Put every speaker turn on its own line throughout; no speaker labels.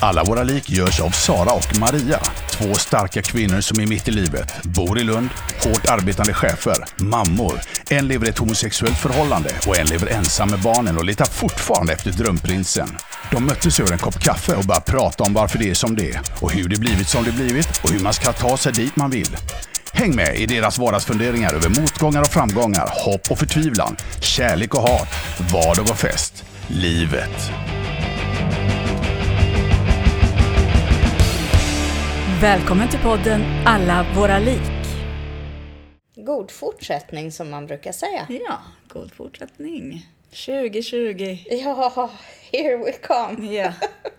Alla våra lik görs av Sara och Maria. Två starka kvinnor som är mitt i livet, bor i Lund, hårt arbetande chefer, mammor. En lever i ett homosexuellt förhållande och en lever ensam med barnen och letar fortfarande efter drömprinsen. De möttes över en kopp kaffe och började prata om varför det är som det är och hur det blivit som det blivit och hur man ska ta sig dit man vill. Häng med i deras vardagsfunderingar över motgångar och framgångar, hopp och förtvivlan, kärlek och hat, vardag och fest, livet.
Välkommen till podden Alla våra lik.
God fortsättning som man brukar säga.
Ja, god fortsättning. 2020.
Ja, here we come.
Ja,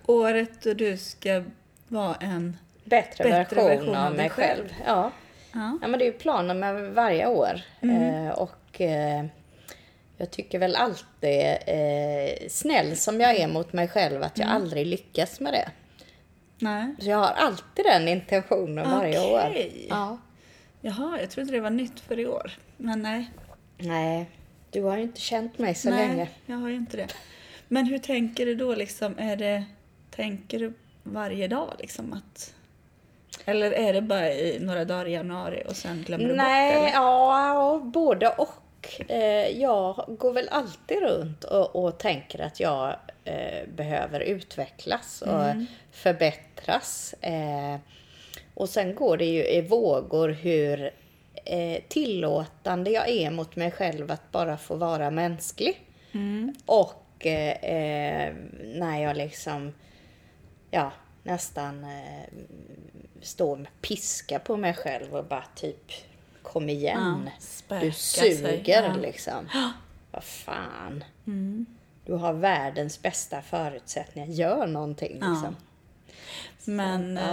året då du ska vara en...
Bättre,
Bättre
version,
version
av mig själv. Ja.
Ja. Mm.
ja, men det är ju planen med varje år. Eh, och eh, jag tycker väl alltid, eh, snäll som jag är mot mig själv, att jag
Mm.
aldrig lyckas med det.
Nej.
Så jag har alltid den intentionen varje år.
Okej.
Ja.
Jaha, jag trodde det var nytt för i år. Men nej.
Nej, du har ju inte känt mig så
nej,
länge.
jag har ju inte det. Men hur tänker du då liksom? Är det... Tänker du varje dag liksom att... Eller är det bara i några dagar i januari och sen glömmer du bort det?
Nej,
eller?
ja, och både och. Eh, Jag går väl alltid runt och, och tänker att jag eh, behöver utvecklas och
Mm.
förbättras. Eh, och sen går det ju i vågor hur eh, tillåtande jag är mot mig själv att bara få vara mänsklig.
Mm.
Och eh, eh, när jag liksom, ja, nästan eh, står med piska på mig själv och bara typ kom igen.
Ja, späka
du
sig.
suger
Ja. Mm.
liksom. Vad fan. Du har världens bästa förutsättningar. Gör någonting liksom.
Men, eh,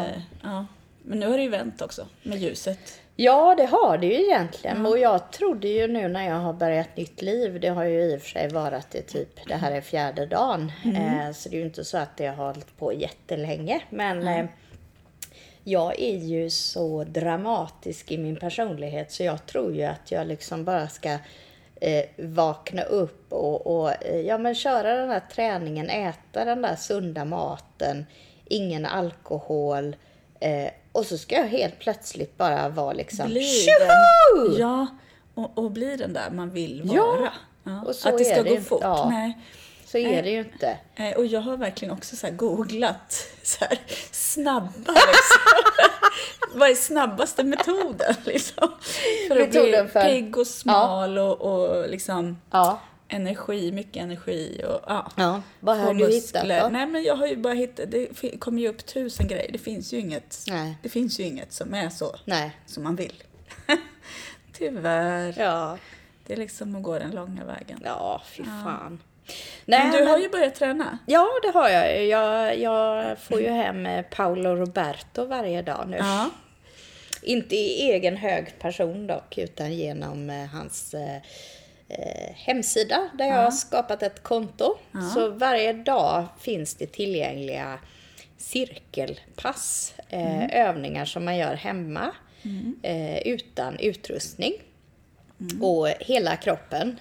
ja. Men nu har det ju vänt också med ljuset.
Ja, det har det ju egentligen. Och jag trodde ju nu när jag har börjat nytt liv, det har ju i och för sig varit i typ, det här är fjärde dagen.
Mm.
Eh, så det är ju inte så att det har hållit på jättelänge. Men eh, jag är ju så dramatisk i min personlighet så jag tror ju att jag liksom bara ska eh, vakna upp och, och eh, ja, men köra den här träningen, äta den där sunda maten, ingen alkohol. Eh, och så ska jag helt plötsligt bara vara liksom
Bli den,
tjoho!
ja, och, och bli den där man vill
Ja,
vara. Ja,
och så
att det
är
ska
det
gå
ju.
fort.
Ja.
Nej.
Så är det ju inte.
Eh, Och jag har verkligen också så här googlat så här, snabba liksom. Vad är snabbaste metoden liksom? För att
Metoden
bli
för-
pigg och smal och, och liksom
Ja.
energi, mycket energi och ja.
Ja, vad har
Få
du hittat
muskler.
då?
Nej men jag har ju bara hittat, det fin- kommer ju upp tusen grejer. Det finns ju inget,
Nej.
det finns ju inget som är så
Nej.
som man vill. Tyvärr.
Ja.
Det är liksom att gå den långa vägen.
Ja, fy fan. Nej,
Men du har ju börjat träna.
Ja, det har jag. ju. jag. Jag får ju hem eh, Paolo Roberto varje dag nu.
Ja.
Inte i egen hög person dock, utan genom eh, hans eh, eh, hemsida där jag har skapat ett konto. Så varje dag finns det tillgängliga cirkelpass, eh, övningar som man gör hemma eh, utan utrustning. Och hela kroppen.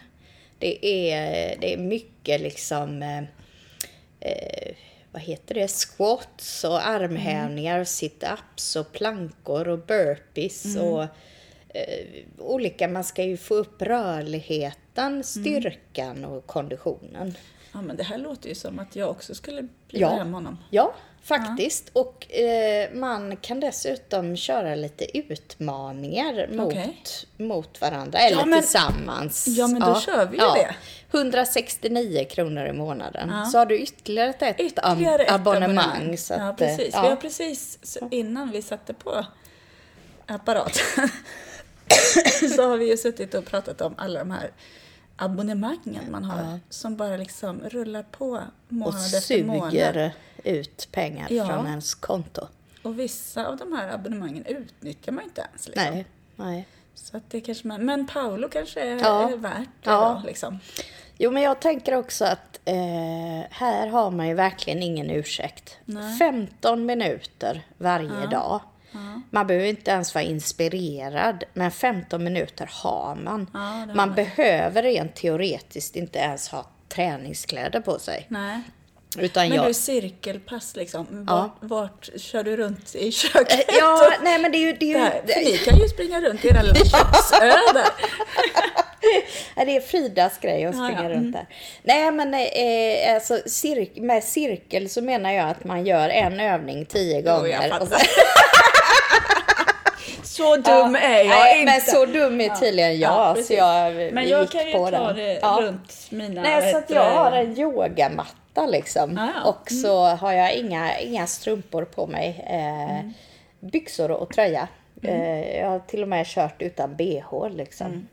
Det är, det är mycket liksom eh, eh, vad heter det, squats och armhävningar och sit-ups och plankor och burpees och eh, olika, man ska ju få upp rörligheten, styrkan och konditionen.
Ja men det här låter ju som att jag också skulle bjuda
Ja,
hem honom.
ja faktiskt. Och eh, man kan dessutom köra lite utmaningar mot,
Okej.
mot varandra, eller
men-
tillsammans.
Ja, men då kör vi ju det.
169 kronor i månaden. Så har du ytterligare ett,
Ytterligare
ab-
ett
abonnemang.
abonnemang.
Så att,
ja,
eh,
precis.
ja.
Vi har precis, så innan vi satte på apparaten, så har vi ju suttit och pratat om alla de här abonnemangen man har, som bara liksom rullar på
och
månad efter månad.
suger ut pengar
Ja.
från ens konto.
Och vissa av de här abonnemangen utnyttjar man inte ens. Liksom.
Nej. Nej.
Så att det kanske man, men Paolo kanske är,
Ja.
är värt det
Ja.
då, liksom.
Jo, men jag tänker också att eh, här har man ju verkligen ingen ursäkt. 15 minuter varje dag. Man behöver inte ens vara inspirerad, men 15 minuter har man.
det har
man behöver rent teoretiskt inte ens ha träningskläder på sig.
Nej.
Utan
Men
jag,
du, cirkelpass liksom.
Ja. Eh,
Vart, vart kör du runt i köket?
ja, nej men det är ju... Det
Det
är,
här,
ju,
för ni kan ju springa runt i era lilla köksö där.
Ja, det är Fridas grej att
Ja, Mm.
springa
ja.
runt där. Nej, men eh, alltså, cir- med cirkel så menar jag att man gör en övning tio
Jo,
gånger.
jag
och
fattar. Så dum är jag
Nej,
inte.
Men så dum är tydligen jag,
Ja,
så
precis.
jag
Men jag
gick
kan ju
på
ta
den.
det
Ja.
runt mina...
Nej, så
vet
att jag
du,
har en yogamatta liksom.
Ah, Ja, Mm. ja.
Och så har jag inga, inga strumpor på mig. Eh,
Mm.
Byxor och tröja. Eh, jag har till och med kört utan bh liksom.
Mm.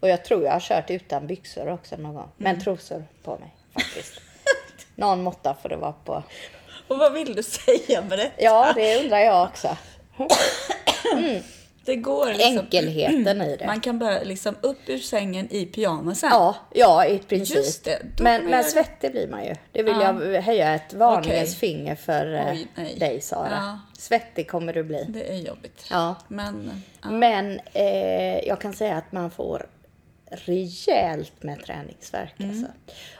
Och jag tror jag har kört utan byxor också någon gång.
Mm.
Men trosor på mig faktiskt. någon måtta får det vara på.
Och vad vill du säga med det?
Ja, det undrar jag också.
Det går liksom...
Enkelheten i det.
Man kan börja liksom upp ur sängen i pyjamasen.
Ja, ja i princip.
Just det, då
men
kommer
men
jag-
svettig blir man ju. Det vill jag höja ett varningens
Okej.
finger för eh,
Oj, nej.
dig Sara.
Ja.
Svettig kommer du bli.
Det är jobbigt.
Ja.
Men
Men eh, jag kan säga att man får rejält med träningsvärk.
Mm.
Alltså.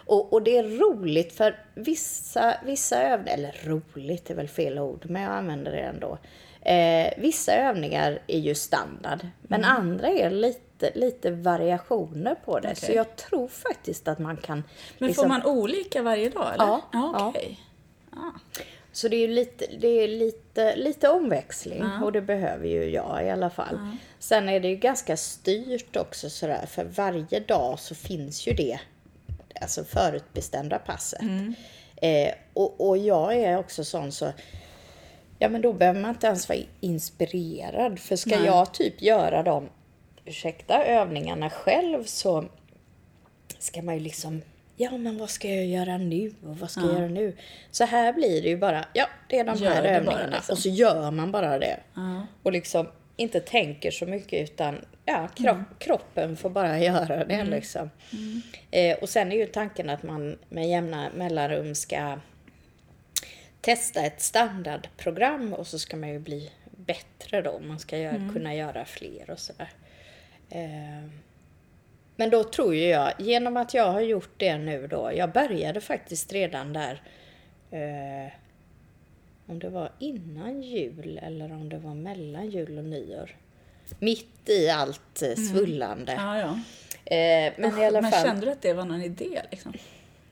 Och, och det är roligt för vissa, vissa övningar, eller roligt är väl fel ord, men jag använder det ändå. Eh, vissa övningar är ju standard, men
Mm.
andra är lite, lite variationer på det. Så
Okej.
jag tror faktiskt att man kan...
Men
liksom-
får man olika varje dag? Eller?
Ja,
Ja,
ja.
okej.
Så det är ju lite, det är lite, lite omväxling och det behöver ju jag i alla fall. Sen är det ju ganska styrt också sådär för varje dag så finns ju det alltså förutbestämda passet. Eh, och, och jag är också sån så ja men då behöver man inte ens vara inspirerad för ska jag typ göra de ursäkta övningarna själv så ska man ju liksom, ja men vad ska jag göra nu och vad ska jag göra nu? Så här blir det ju bara, ja det är de
Gör
här
det bara,
övningarna
liksom.
och så gör man bara det. Och liksom inte tänker så mycket utan ja, kro-
Mm.
kroppen får bara göra det liksom. Eh, och sen är ju tanken att man med jämna mellanrum ska testa ett standardprogram och så ska man ju bli bättre då. Man ska göra,
Mm.
kunna göra fler och sådär. Eh, men då tror ju jag, genom att jag har gjort det nu då, jag började faktiskt redan där, eh, om det var innan jul eller om det var mellan jul och nyår. Mitt i allt eh, svullande.
Mm. Ja, ja.
Eh, men i alla
Men
fall.
kände du att det var någon idé? Liksom?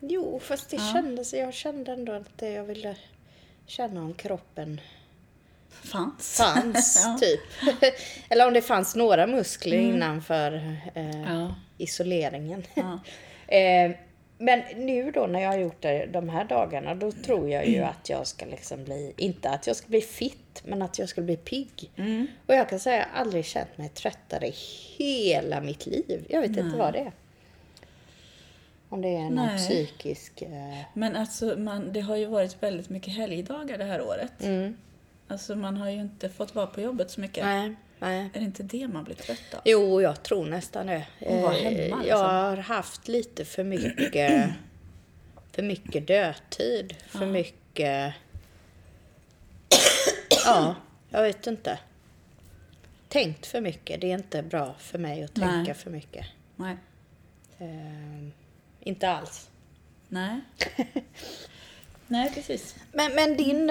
Jo, fast det kändes, jag kände ändå att det jag ville känna om kroppen
Fanns?
fanns,
ja. Mm.
typ. Eller om det fanns några muskler innanför eh,
Ja.
isoleringen.
Ja.
eh, men nu då när jag har gjort det de här dagarna, då tror jag ju att jag ska liksom bli, inte att jag ska bli fit, men att jag ska bli pigg.
Mm.
Och jag kan säga, jag har aldrig känt mig tröttare i hela mitt liv. Jag vet inte vad det är. Om det är någon
Nej.
psykisk... Eh,
Men alltså, man, det har ju varit väldigt mycket helgdagar det här året. Alltså, man har ju inte fått vara på jobbet så mycket.
Mm. nej, nej.
Är det inte det man blir trött av?
Jo, jag tror nästan det.
Och vara
Eh,
hemma, liksom.
Jag har haft lite för mycket, för mycket dödtid. För mycket... Ja, jag vet inte. Tänkt för mycket. Det är inte bra för mig att
Nej.
tänka för mycket.
Nej.
Eh, inte alls.
Nej. Nej, precis.
Men, men din,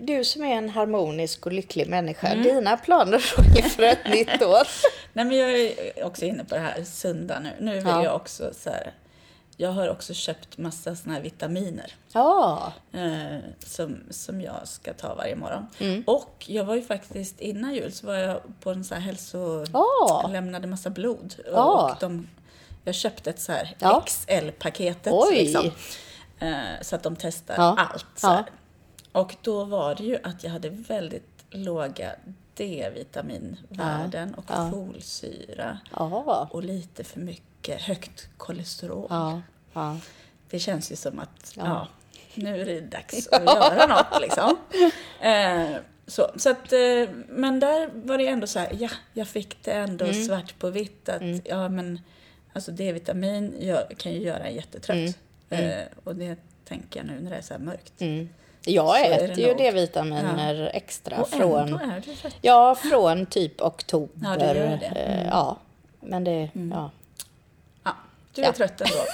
du som är en harmonisk och lycklig människa,
Mm.
dina planer då inför ett nytt år?
Nej, men jag är också inne på det här sunda nu. Nu vill
Ja.
jag också så här, Jag har också köpt massa såna här vitaminer.
Ja,
eh, som, som jag ska ta varje morgon.
Mm.
Och jag var ju faktiskt innan jul så var jag på en så här hälso...
Ja.
lämnade massa blod. Och,
Ja.
och de, jag köpte ett så här
Ah. Ja.
XL-paketet.
Oj.
Liksom, eh, så att de testar
Ja.
allt. Så här.
Ja.
Och då var det ju att jag hade väldigt låga D-vitaminvärden och folsyra.
ja,
Och lite för mycket högt kolesterol.
ja, ja.
Det känns ju som att ja. nu är det dags att göra något liksom. Eh, så, så att, eh, men där var det ändå så här, ja, jag fick det ändå
Mm.
svart på vitt att ja, men alltså D-vitamin gör, kan ju göra en
Mm.
jättetrött. Eh, och det tänker jag nu när det är så här mörkt.
Mm. Jag
Så är det
äter ju
nog.
D-vitaminer extra
Och
från,
ändå är det trött.
ja, från typ oktober.
Ja, det Mm. gör det.
Eh, Ja, men det, ja.
Ja, du är
Ja.
trött ändå.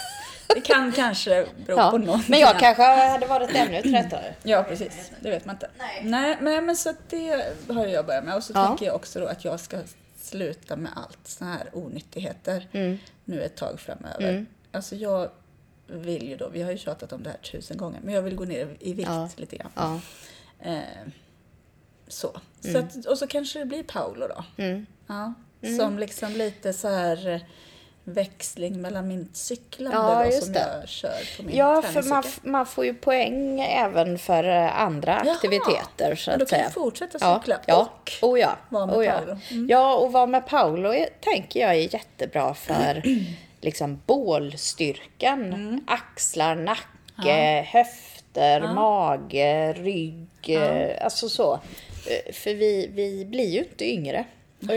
Det kan kanske bero på
Ja.
någonting.
Men jag kanske hade varit ännu tröttare.
Ja, precis. Det vet man inte. Nej. Nej, men så att det har jag börjat med. Och så
Ja.
tänker jag också då att jag ska sluta med allt såna här onyttigheter
Mm.
nu ett tag framöver. Alltså jag vill ju då, vi har ju tjatat om det här tusen gånger, men jag vill gå ner i vikt
Ja.
lite grann.
Ja.
Eh, så. så
Mm.
att, och så kanske det blir Paolo då. Ja. Som liksom lite så här eh, växling mellan min cyklande
Ja,
då,
just
som
det.
jag kör på min
Ja, för
träningscykel.
man, f- man får ju poäng även för eh, andra
Jaha.
aktiviteter så
Men då
att
kan
säga.
jag fortsätta
Ja,
cykla
ja.
och
Oh, ja.
vara med
oh, ja.
Paolo. Mm.
Ja, och vara med Paolo är, tänker jag är jättebra för liksom bålstyrkan.
Mm.
Axlar, nacke, höfter, mage, rygg. eh, Alltså så. Eh, För vi, vi blir ju inte yngre. Och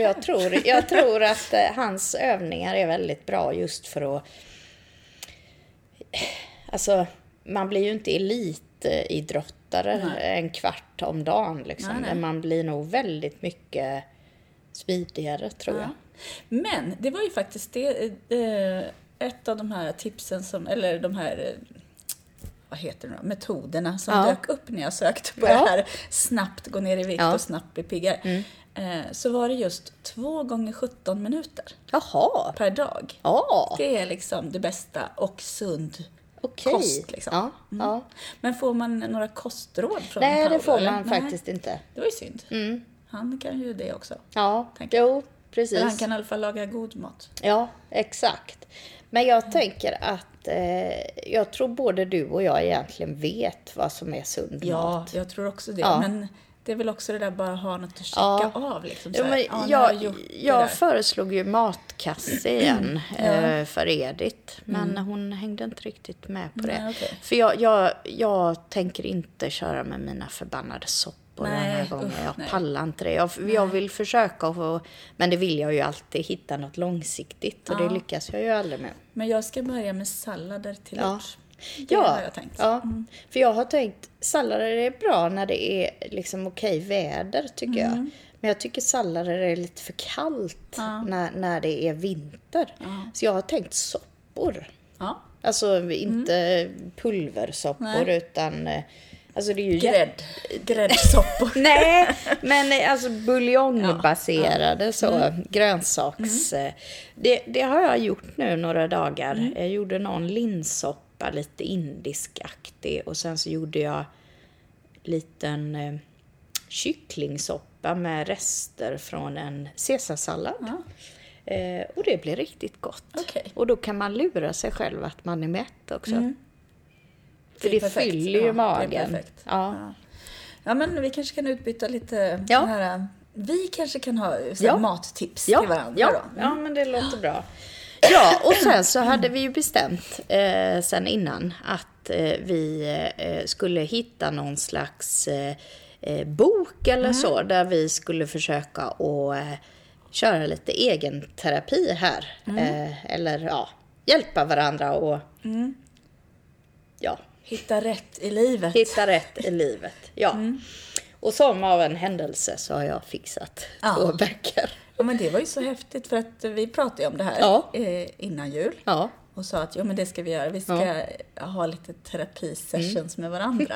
jag tror, jag tror att eh, hans övningar är väldigt bra just för att Alltså, man blir ju inte elitidrottare en kvart om dagen. Liksom.
Nej, nej.
Men man blir nog väldigt mycket smidigare, tror jag.
Ja. Men det var ju faktiskt det, eh, ett av de här tipsen, som, eller de här eh, vad heter det då, metoderna som
Ja.
dök upp när jag sökte på
Ja.
det här snabbt gå ner i vikt
Ja. Mm.
och snabbt bli piggare. Eh, så var det just 2 gånger 17 minuter
Jaha!
per dag.
Ja,
Det är liksom det bästa och sund
okej.
kost liksom.
Ja, ja.
Men får man några kostråd från
Nej, det
Paolo,
får
eller?
man
Nej,
faktiskt Mm. inte.
Det var ju synd. Han kan ju det också.
Ja,
Tänker
jo,
Eller han
precis.
kan i alla fall laga god mat.
Ja, exakt. Men jag tänker att eh, jag tror både du och jag egentligen vet vad som är sund mat.
Ja, jag tror också det.
Ja.
Men det är väl också det där bara att ha något att checka
Ja.
av. Liksom, så
Ja,
här,
men
"Ja, nu har
jag
jag gjort det
jag
där."
föreslog ju matkasse igen eh, för Edith, men hon hängde inte riktigt med på det.
Mm. Nej, okej.
För jag, jag, jag tänker inte köra med mina förbannade soppor den här
Nej,
gången.
usch,
jag
nej.
pallar inte det. Jag, jag vill försöka, få, men det vill jag ju alltid, hitta något långsiktigt och det lyckas jag ju aldrig med.
Men jag ska börja med sallader till
Ja.
lunch. Det
Ja,
har jag tänkt. Mm.
ja. för jag har tänkt sallader är bra när det är liksom okej väder tycker
Mm.
jag. Men jag tycker sallader är lite för kallt när, när det är vinter. Så jag har tänkt soppor.
Ja.
Alltså inte pulversoppor
Mm. Nej.
utan eh, alltså det är ju jätte-
Grädd. Gräddsoppor.
Nej, men eh, alltså buljongbaserade så,
Mm.
grönsaks... eh, Det, det har jag gjort nu några dagar.
Mm.
Jag gjorde någon linssoppa, lite indiskaktig, och sen så gjorde jag liten eh, kycklingsoppa med rester från en caesarsallad. Eh, och det blir riktigt gott.
Okej.
Och då kan man lura sig själv att man är mätt också. För
Mm. Det är
det,
perfekt. Ja,
fyller ju
det är
magen.
perfekt.
Ja.
Ja, men vi kanske kan utbyta lite
Ja.
ja. här... Vi kanske kan ha så här,
Ja.
mattips
ja,
till varandra
ja,
då.
Ja, men det låter bra. Ja, och sen så hade vi ju bestämt eh, sen innan att eh, vi eh, skulle hitta någon slags eh, eh, bok
Mm.
eller så där vi skulle försöka att eh, köra lite egen terapi här.
Mm.
Eh, eller ja, hjälpa varandra och
Mm.
ja,
Hitta rätt i livet.
hitta rätt i livet. Ja.
Mm.
Och som av en händelse så har jag fixat
Ja.
två böcker.
Ja, men det var ju så häftigt för att vi pratade ju om det här
Ja.
eh, innan jul.
Ja.
och sa att jo, men det ska vi göra. Vi ska ha lite terapisessions med varandra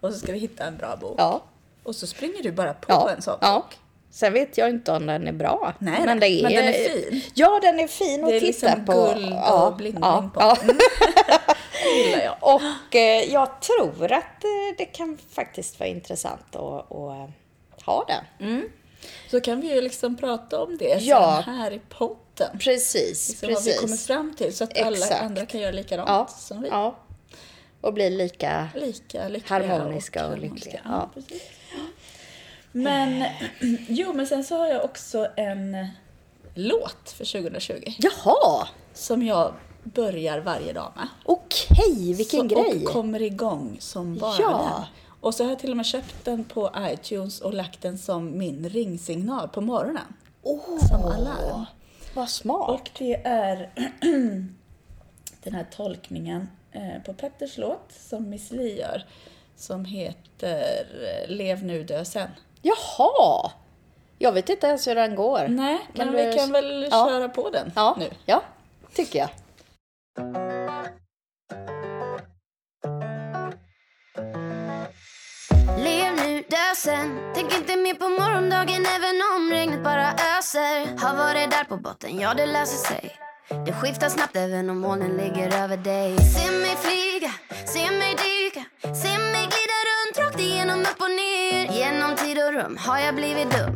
och så ska vi hitta en bra bok.
Mm. Ja.
Och så springer du bara på en sån
ja.
bok.
Sen vet jag inte om den är bra.
Nej, nej, men den är fin.
Ja, den är fin att
Det är
titta
liksom
på.
guld och
ja,
bling
ja,
bling på. Mm.
Ja.
Det gillar jag.
Och eh, jag tror att eh, det kan faktiskt vara intressant att, att ha den.
Mm. Så kan vi ju liksom prata om det
Ja.
sen här i podden.
Precis,
Så vad vi kommer
precis.
fram till så att alla
Exakt.
andra kan göra likadant
Ja,
som vi.
ja. Och bli lika...
Lika lyckliga
Harmoniska och lyckliga,
Ja,
ja.
precis. Men, jo men sen så har jag också en låt för 2020
Jaha!
som jag börjar varje dag med.
Okej, vilken
så,
grej!
Och kommer igång som bara
Ja.
den. Och så har jag till och med köpt den på iTunes och lagt den som min ringsignal på morgonen.
Åh,
Som alarm.
vad smart!
Och det är den här tolkningen eh, på Petters låt som Miss Li gör. Som heter eh, Lev nu, dö sen.
Jaha! Jag vet inte ens hur den går.
Nej,
Kan
men
du-
vi kan väl
Ja.
köra på den
Ja,
nu.
ja tycker jag.
slösen Tänk inte mer på morgondagen även om regnet bara öser Har varit där på botten, ja det löser sig Det skiftar snabbt även om molnen ligger över dig Se mig flyga, se mig dyka Se mig glida runt rakt igenom upp och ner Genom tid och rum har jag blivit dum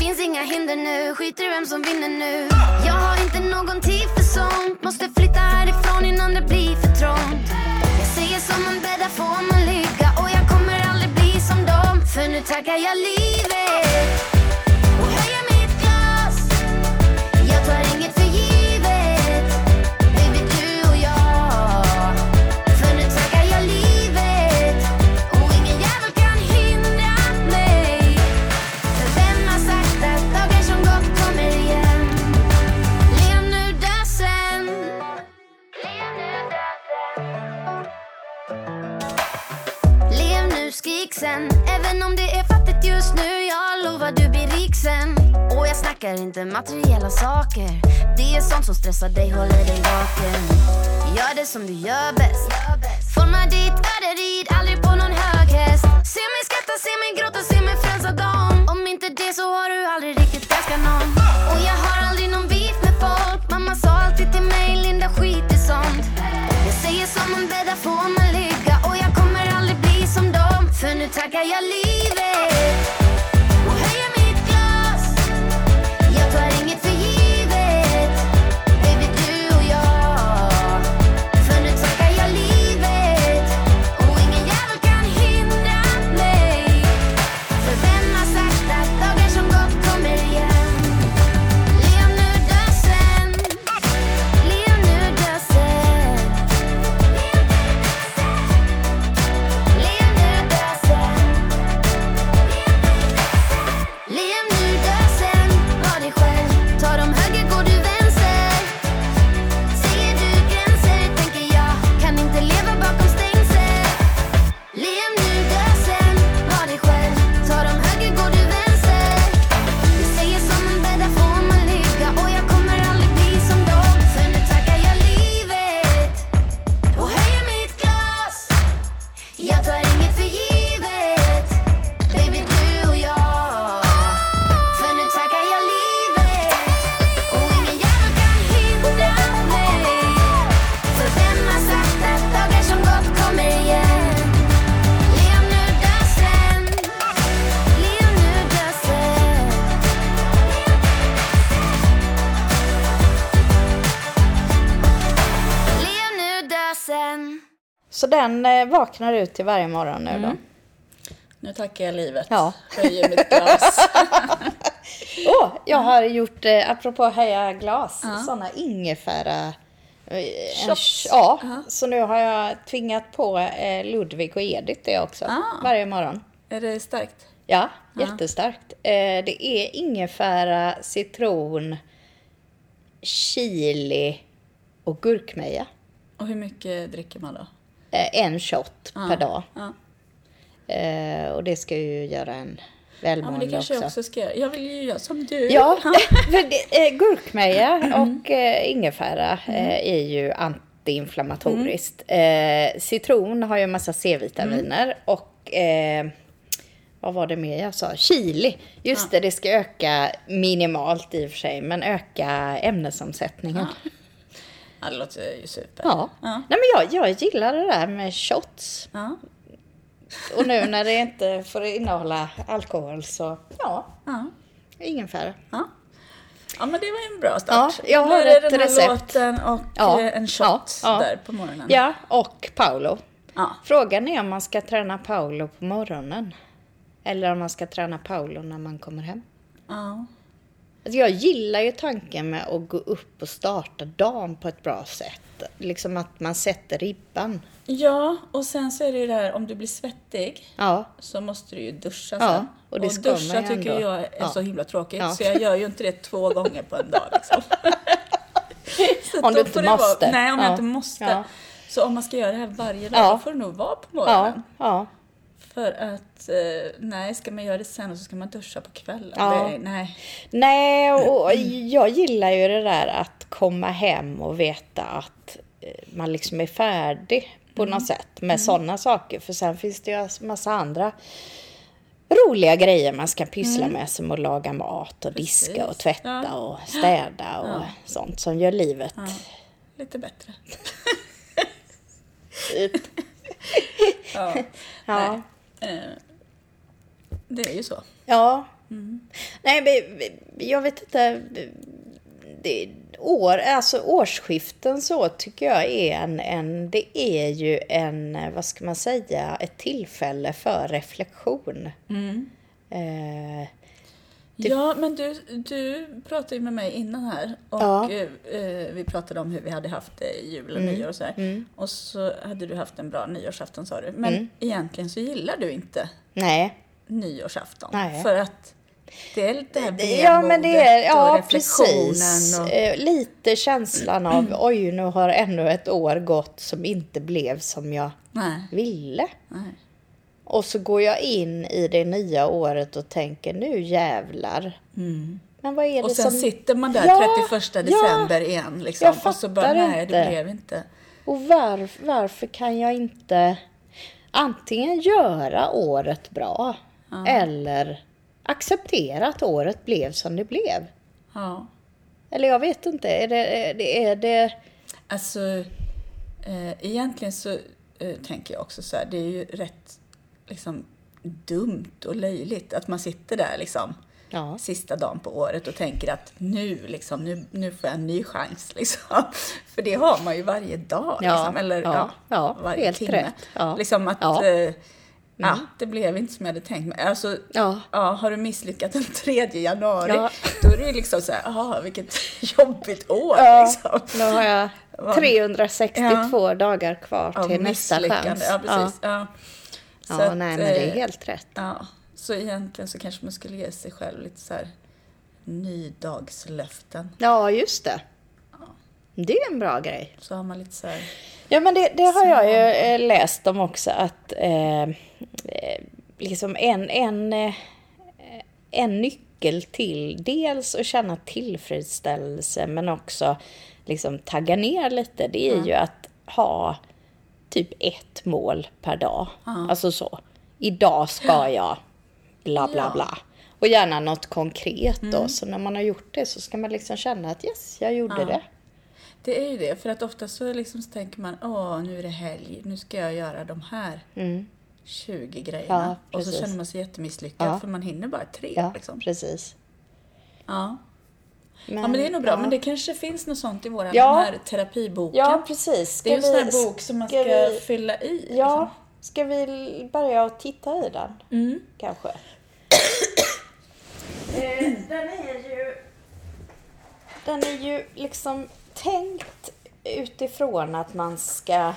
Finns inga hinder nu, skiter i vem som vinner nu Jag har inte någon tid för sånt Måste flytta härifrån innan det blir för trångt Jag säger som man bäddar får man ligga Och jag kommer aldrig bli som dem För nu taggar jag livet Och höjer mitt glas Jag tar inget för givet Baby du och jag för nu tackar jag livet och ingen jävel kan hindra mig För vem har sagt att dagar som gått kommer igen Lev nu, dö sen Lev nu, skrik sen Även om det är fattigt just nu Jag lovar du blir rik sen Och jag snackar inte materiella saker Det är sånt som stressar dig, håller dig vaken Gör det som du gör bäst Forma ditt öde, rid aldrig på någon hög häst Se mig skratta, se mig gråta, se mig frälsa dem Om inte det så har du aldrig riktigt älskat någon Och jag har aldrig någon beef med folk Mamma sa alltid till mig, Linda skit i sånt Jag säger som man bäddar får man ligga Och jag kommer aldrig bli som dem För nu tackar jag livet Och höjer mitt glas Jag tar inget för givet Baby du och jag För nu tackar jag livet Och ingen jävel kan hindra mig För vem har sagt att dagar som gått kommer igen Lev nu, dö sen Lev nu, dö sen Lev nu, dö sen Lev nu, dö sen Var dig själv Tar de höger går du vänster Ser du gränser tänker jag Kan inte leva bakom stängsel Lev nu, dö sen Var dig själv Tar de höger går du vänster Jag säger som man bäddar får man ligga Och jag kommer aldrig bli som dem För nu tackar jag livet Och höjer mitt glas jag tar inget för givet Baby du och jag För nu tackar jag livet Och ingen jävel kan hindra mig För vem har sagt att dagar som gått kommer igen Lev nu, dö sen Lev nu, dö sen Lev nu, dö sen
Så den eh, vaknar ut till varje morgon nu då.
Nu tackar jag livet.
Ja.
Höjer mitt glas.
Åh, jag har gjort, eh, apropå höja glas, såna ingefära... eh, en-
Shots.
Ja, så nu har jag tvingat på eh, Ludvig och Edith det också,
Ah.
varje morgon.
är det starkt?
Ja, jättestarkt. Eh, det är ingefära, citron, chili och gurkmeja.
Och hur mycket dricker man då?
Eh, en shot per dag.
Ja.
Eh, och det ska ju göra en
Ja, men
välmående
det kanske jag
också.
också ska göra. Jag vill ju göra som du.
Ja, för det, eh, gurkmeja
Mm.
och eh, ingefära eh, är ju antiinflammatoriskt.
Mm.
Eh, citron har ju en massa C-vitaminer och eh, vad var det mer jag sa? Chili. Just det, det ska öka minimalt i och för sig, men öka ämnesomsättningen.
Ja, det låter ju super.
Ja. Nej, men jag, jag gillar det där med shots.
Ja.
Och nu när det inte får innehålla alkohol så, ja,
Ja.
ingefära.
Ja. ja, men det var ju en bra start.
Ja, jag
Då
har
är det
ett
den här
recept.
låten och
Ja,
eh, en shot
ja, ja.
där på morgonen.
Ja, och Paolo.
Ja.
Frågan är om man ska träna Paolo på morgonen. Eller om man ska träna Paolo när man kommer hem.
Ja.
Alltså jag gillar ju tanken med att gå upp och starta dagen på ett bra sätt. Liksom att man sätter ribban.
Ja, och sen så är det ju det här om du blir svettig
Ja,
så måste du ju duscha
Ja,
sen.
och det ska man
duscha
ju
tycker
ändå.
jag är
Ja.
så himla tråkigt
Ja.
så jag gör ju inte det två gånger på en dag. Liksom. Så
Om du
då
inte
får det vara-
måste.
Nej, om jag
Ja.
inte måste.
Ja.
Så om man ska göra det här varje dag
Ja.
då får det nog vara på morgonen.
ja, ja.
För att, eh, nej, ska man göra det sen och så ska man duscha på kvällen.
Ja.
Det, nej.
Nej, och jag gillar ju det där att komma hem och veta att eh, man liksom är färdig på något sätt med sådana saker. För sen finns det ju alltså massa andra roliga grejer man ska pyssla med som att laga mat och diska och tvätta
Ja.
och städa och sånt som gör livet.
Lite bättre.
Typ.
Ja.
Ja.
Eh, Det är ju så.
Ja.
Mm.
Nej, men jag vet inte. Det, år, alltså årsskiften så tycker jag är en, en... Det är ju en, vad ska man säga, ett tillfälle för reflektion.
Mm.
Eh,
Ja, men du, du pratade ju med mig innan här och
Ja. Mm.
eh, eh, vi pratade om hur vi hade haft eh, jul och nyår och sådär. Och så hade du haft en bra nyårsafton sa du. Men
Mm.
egentligen så gillar du inte
nej.
nyårsafton.
Nej.
För att det är lite det här vemodet
Ja, men det är...
och
Ja,
reflektionen.
precis.
Och,
Eh, Lite känslan av oj, nu har ännu ett år gått som inte blev som jag
nej,
ville.
nej.
Och så går jag in i det nya året och tänker nu jävlar. Men vad är det
Mm. Och sen
som...
sitter man där
Ja,
31
ja.
december igen liksom.
Jag
och så bara,
fattar
nej
inte.
det blev inte.
Och var, varför kan jag inte antingen göra året bra eller acceptera att året blev som det blev?
Ja.
Eller jag vet inte. Är det... Är det, är det
Alltså, eh, egentligen så eh, tänker jag också så här, det är ju rätt liksom, dumt och löjligt att man sitter där liksom,
ja.
sista dagen på året och tänker att nu, liksom, nu, nu får jag en ny chans. Liksom. För det har man ju varje dag,
Ja,
liksom, eller
ja, ja,
varje
helt
timme.
rätt. Ja,
Liksom att,
ja. Mm.
eh, ja, det blev inte som jag hade tänkt mig. Alltså,
Ja.
Ja, har du misslyckats den 3 januari,
Ja.
då är det ju liksom så här, aha, vilket jobbigt år.
Ja,
liksom.
nu har jag 362 dagar kvar
av
till nästa
misslyckande.
chans.
Ja, precis. Ja.
Ja.
Så
Ja,
att,
nej, men det är
eh,
helt rätt.
Ja, så egentligen så kanske man skulle ge sig själv lite så här nydagslöften.
Ja, just det. Det är en bra grej.
Så har man lite så här,
Ja, men det, det har jag ju eh, läst om också att eh, eh, liksom en, en, eh, en nyckel till dels att känna tillfredsställelse men också liksom tagga ner lite, det är ju att ha typ ett mål per dag. Alltså så. Idag ska jag bla bla
Ja. Mm.
bla. Och gärna något konkret då. Så när man har gjort det så ska man liksom känna att yes, jag gjorde det.
det är ju det, för att ofta så, är det liksom så tänker man, åh nu är det helg, nu ska jag göra de här 20 grejerna.
Mm. Ja,
och så
precis.
känner man sig jättemisslyckad
Ja.
för man hinner bara tre.
Ja,
liksom.
precis.
ja. ja, men det är nog bra. Men det kanske finns något sånt i våran
Ja.
den här terapiboken.
Ja, precis. Ska
det är ju en sån
vi-
här bok som man ska,
ska vi-
fylla i. liksom.
Ja, ska vi l- börja och titta i den?
Mm.
Kanske. Eh, den är ju... Den är ju liksom tänkt utifrån att man ska...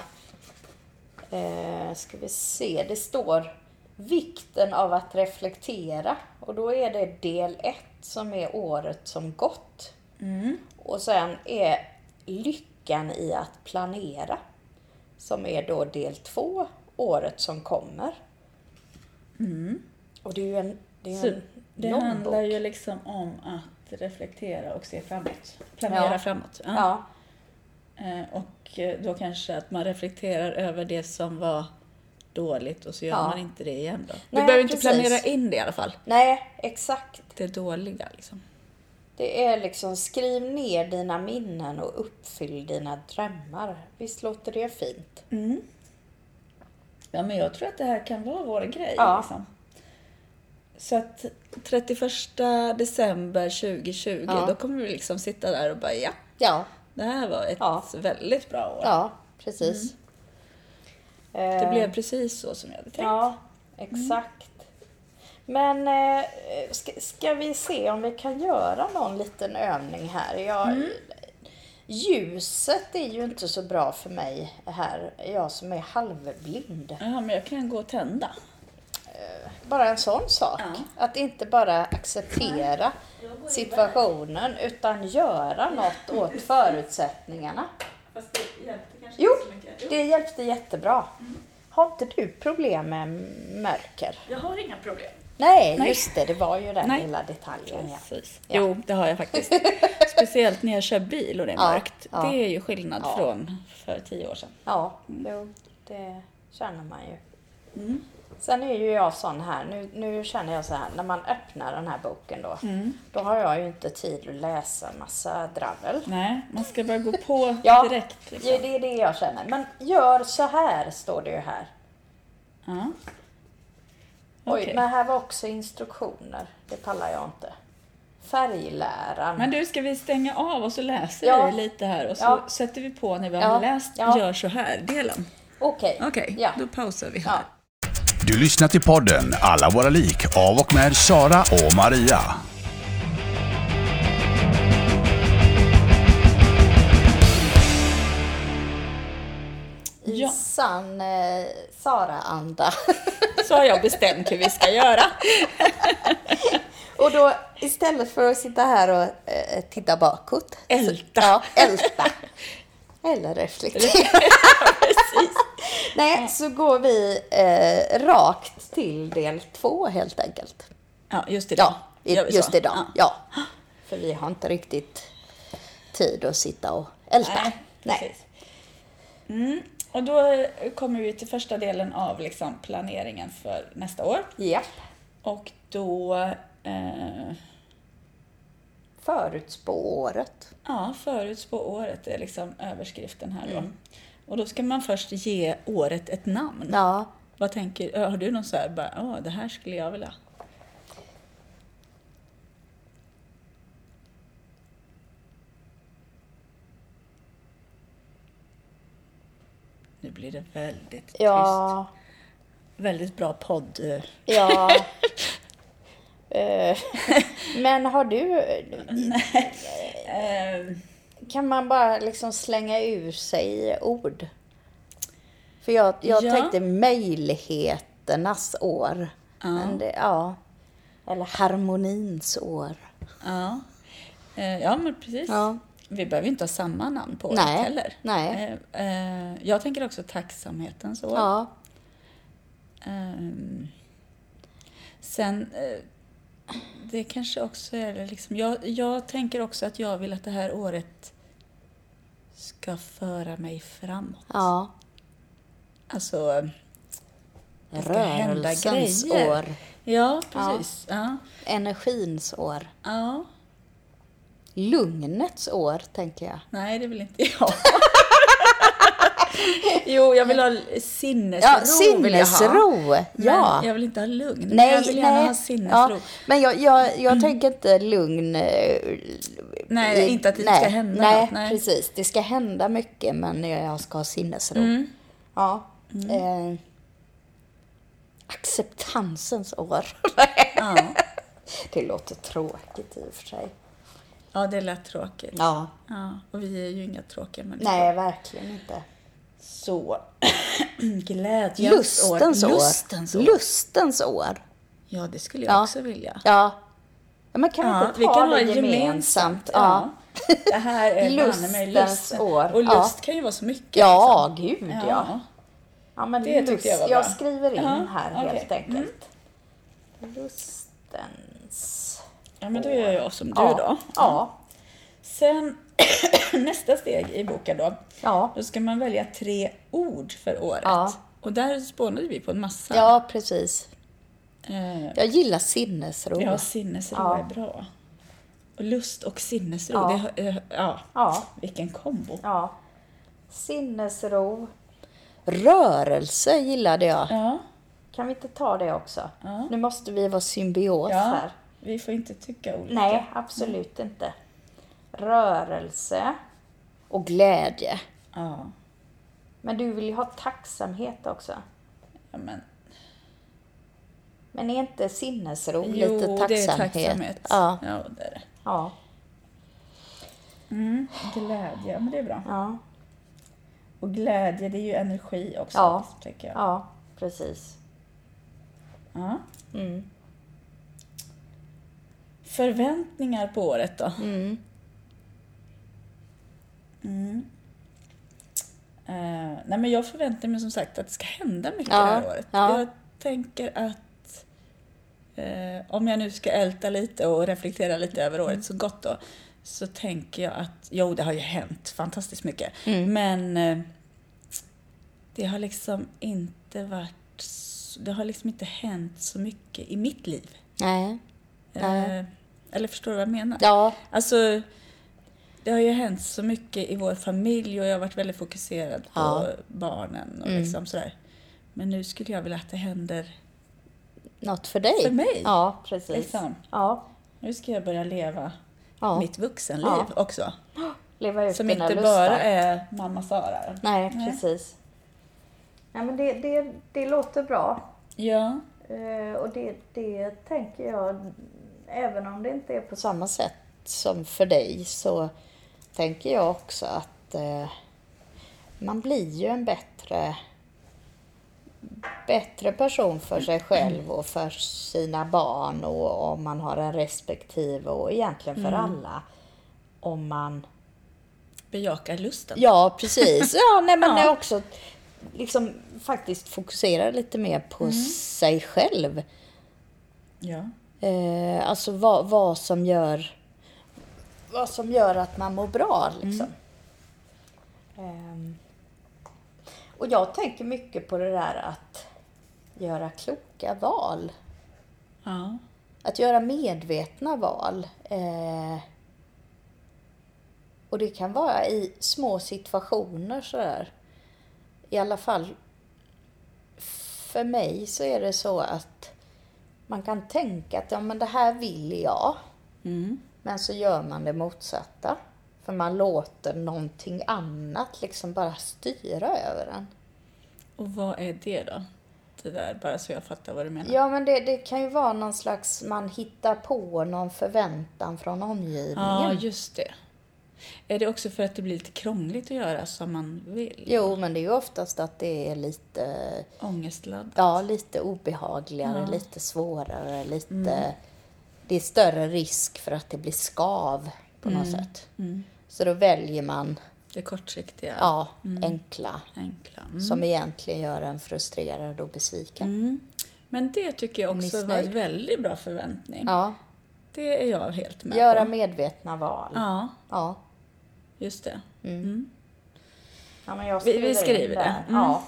Eh, ska vi se, det står vikten av att reflektera och då är det del ett som är året som gått.
Mm.
Och sen är lyckan i att planera som är då del två, året som kommer. Och det är ju en, det är
Mm. Så
en
det
lång
handlar
bok.
ju liksom om att reflektera och se framåt. Planera
Ja.
framåt. Ja.
Ja,
Eh, Och eh, då kanske att man reflekterar över det som var dåligt och så gör
Ja.
man inte det igen då.
Nej,
du behöver inte
precis.
planera in det i alla fall.
nej exakt.
Det dåliga liksom.
Det är liksom skriv ner dina minnen och uppfyll dina drömmar. Visst låter det fint?
Ja men jag tror att det här kan vara vår grej.
Ja.
Liksom. Så att 31 december 2020
Ja.
då kommer vi liksom sitta där och bara ja,
Ja,
det här var ett
Ja.
väldigt bra år.
ja precis.
Mm. Det
Eh,
blev precis så som jag hade tänkt.
Ja, exakt. Men eh, ska, ska vi se om vi kan göra någon liten övning här? Jag,
Mm.
Ljuset är ju inte så bra för mig här, jag som är halvblind.
Ja, men jag kan gå och tända.
Bara en sån sak. Att inte bara acceptera situationen utan göra något åt förutsättningarna.
Fast det hjälpte kanske
Jo,
inte så mycket. Mm.
det hjälpte jättebra. Har inte du problem med mörker?
Jag har inga problem.
Nej, just det. Det var ju den
Nej.
lilla detaljen. Ja.
Precis. Jo, det har jag faktiskt. Speciellt när jag kör bil och det är
Ja,
mörkt.
ja.
Det är ju skillnad
Ja.
från för tio år sedan. Mm.
ja, jo, det känner man ju. Sen är ju jag sån här, nu, nu känner jag så här, när man öppnar den här boken då,
Mm.
då har jag ju inte tid att läsa massa dravel.
Nej, man ska bara gå på
Ja,
direkt.
ju,
Liksom.
det är det jag känner. Men gör så här, står det ju här.
Ja.
Oj,
Okej.
men här var också instruktioner. Det pallar jag inte. Färgläran.
Men du, ska vi stänga av och så läser
Ja.
vi lite här och så
Ja.
sätter vi på när vi
Ja.
har läst
Ja.
gör så här-delen.
Okej.
Okej,
Ja.
då pausar vi här.
ja.
Du lyssnar till podden Alla våra lik av och med Sara och Maria.
I
Ja.
sann eh, Sara-anda.
Så har jag bestämt hur vi ska göra.
och då istället för att sitta här och eh, titta bakåt.
Älta.
Ja, älta. Eller reflektera.
Precis.
Nej, så går vi eh, rakt till del två helt enkelt.
Ja, just idag.
Ja, i,
Gör vi så?
just idag. Ja. För vi har inte riktigt tid att sitta och älta.
Nej, precis. Mm. Och då eh, kommer vi till första delen av liksom planeringen för nästa år.
Ja.
Och då, eh,
Förutspå året.
ja, förutspå året är liksom överskriften här då. Och då ska man först ge året ett namn.
Ja.
Vad tänker, ö, har du någon så här, bara, "Åh, det här skulle jag vilja? Nu blir det väldigt tyst.
Ja.
Väldigt bra podd. eh.
Ja. Eh, Men har du... Eh.
Ehm,
Kan man bara liksom slänga ur sig ord? För jag, jag
Ja.
tänkte möjligheternas år. Men det, ja. Eller harmonins år.
ja. Eh, ja, men precis.
Ja.
Vi behöver ju inte ha samma namn på
Nej,
året heller.
nej.
Eh, eh, jag tänker också tacksamhetens år.
Ja.
Ehm, sen, eh, det kanske också är det liksom, jag, jag tänker också att jag vill att det här året ska föra mig framåt.
ja.
Alltså, det ska hända
Rörelsens
grejer.
år.
Ja, precis. Ja.
Energins år.
Ja.
Lugnets år, tänker jag.
Nej, det vill inte jag. jo, jag vill ha sinnesro.
Ja,
vill jag ha.
sinnesro. Ja.
Men jag vill inte ha lugn. Nej,
Nej,
jag vill gärna
nej.
ha sinnesro.
Ja, men jag, jag, jag tänker inte lugn... eh,
Nej,
i-
inte att det
nej,
ska hända
nej,
något, nej.
precis. Det ska hända mycket, men jag ska ha sinnesro.
Mm.
Ja. Eh, acceptansens år.
Ja.
det låter tråkigt i och för sig.
ja, det lät tråkigt.
Ja.
Ja, och vi är ju inga tråkiga människor.
Nej, verkligen inte.
Så glädjens
Lustens år.
Lustens år.
Lustens år.
Ja, det skulle jag
Ja.
också vilja.
Ja. ja men kan vi
Ja,
inte ta
vi kan ha
det
det gemensamt.
gemensamt? Ja.
Ja. Det här är banne mig
Lustens
lusten.
år.
Och lust
Ja.
kan ju vara så mycket.
Ja, gud
liksom.
ja. ja. men
Det
det
tyckte
lust,
jag var
jag,
bra.
skriver in
Ja,
här
okej. Mm.
helt enkelt. Lustens...
ja, men då gör jag som du
ja.
då.
Ja.
Sen nästa steg i boken då.
Ja.
Då ska man välja tre ord för året.
Ja.
Och där spånade vi på en massa.
ja, precis.
Eh,
Jag gillar sinnesro.
ja sinnesro
Oh. Ja.
är bra. Och lust och sinnesro,
Ja.
det, har- eh, ja.
Ja.
vilken kombo.
ja. Sinnesro. Rörelse gillade jag.
Ja.
Kan vi inte ta det också?
Ja.
Nu måste vi vara symbios
ja.
här.
Vi får inte tycka olika.
Nej, absolut inte. Rörelse och glädje.
Ja.
Men du vill ju ha tacksamhet också.
ja men,
Men är inte sinnesro
jo,
lite tacksamhet?
det är tacksamhet.
Ja,
ja det är det.
ja,
Mm. Glädje, men det är bra.
ja,
Och glädje, det är ju energi också.
Ja.
Tänker jag.
ja, precis. Mm,
Ja. Förväntningar på året då? Mm. Eh, nej men jag förväntar mig som sagt att det ska hända mycket
Ja,
det här året.
ja.
Jag tänker att eh, om jag nu ska älta lite och reflektera lite över
Mm.
året så gott då, så tänker jag att jo, det har ju hänt fantastiskt mycket.
mm.
Men eh, det har liksom inte varit s- det har liksom inte hänt så mycket i mitt liv.
Nej. Nej.
Eh, eller förstår du vad jag menar?
Ja.
Alltså, det har ju hänt så mycket i vår familj och jag har varit väldigt fokuserad på
Ja. Mm.
barnen och liksom sådär. Men nu skulle jag vilja att det händer.
Något för dig.
För mig.
Ja, precis.
Liksom.
Ja.
Nu ska jag börja leva
Ja.
mitt vuxenliv
Ja.
också.
Leva ut
Som
dina
inte
lustar.
bara är mamma Sara.
Nej, precis. Nej, men det, det, det låter bra.
Ja,
Eh, Och det, det tänker jag, även om det inte är på samma sätt som för dig, så tänker jag också att eh, man blir ju en bättre, bättre person för sig själv och för sina barn och om man har en respektive och egentligen för alla. Om man
bejaka lusten.
Ja, precis. Ja, nej, men
Ja.
ja. också liksom faktiskt fokusera lite mer på sig själv.
Ja.
Eh, alltså vad, vad som gör vad som gör att man mår bra. Liksom. Ehm, och jag tänker mycket på det där att göra kloka val.
ja.
Att göra medvetna val. Eh, och det kan vara i små situationer sådär. I alla fall för mig så är det så att man kan tänka att ja, men det här vill jag. Men så gör man det motsatta. För man låter någonting annat liksom bara styra över en.
Och vad är det då? Det där, bara så jag fattar vad du menar.
Ja, men det, det kan ju vara någon slags, man hittar på någon förväntan från omgivningen.
Ja, just det. Är det också för att det blir lite krångligt att göra som man vill?
Jo, men det är ju oftast att det är lite,
Ångestladd?
ja, lite obehagligare, lite svårare, lite... Det är större risk för att det blir skav på något sätt. Så då väljer man,
Det kortsiktiga?
ja, enkla,
Enkla? Mm.
som egentligen gör en frustrerad och besviken.
Men det tycker jag också var en
Missnöjd.
väldigt bra förväntning.
Ja,
Det är jag helt med
göra
på.
medvetna val. Ja.
Ja,
ja.
just det.
men jag
Vi- vi skriver
in
det.
där.
Mm.
Ja.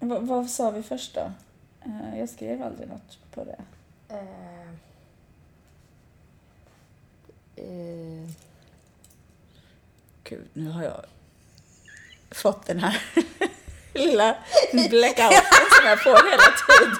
Va- vad sa vi först då? Eh, Jag skrev aldrig något på det.
Eh, eh,
Gud, nu har jag fått den här lilla blackouten som jag får hela tiden.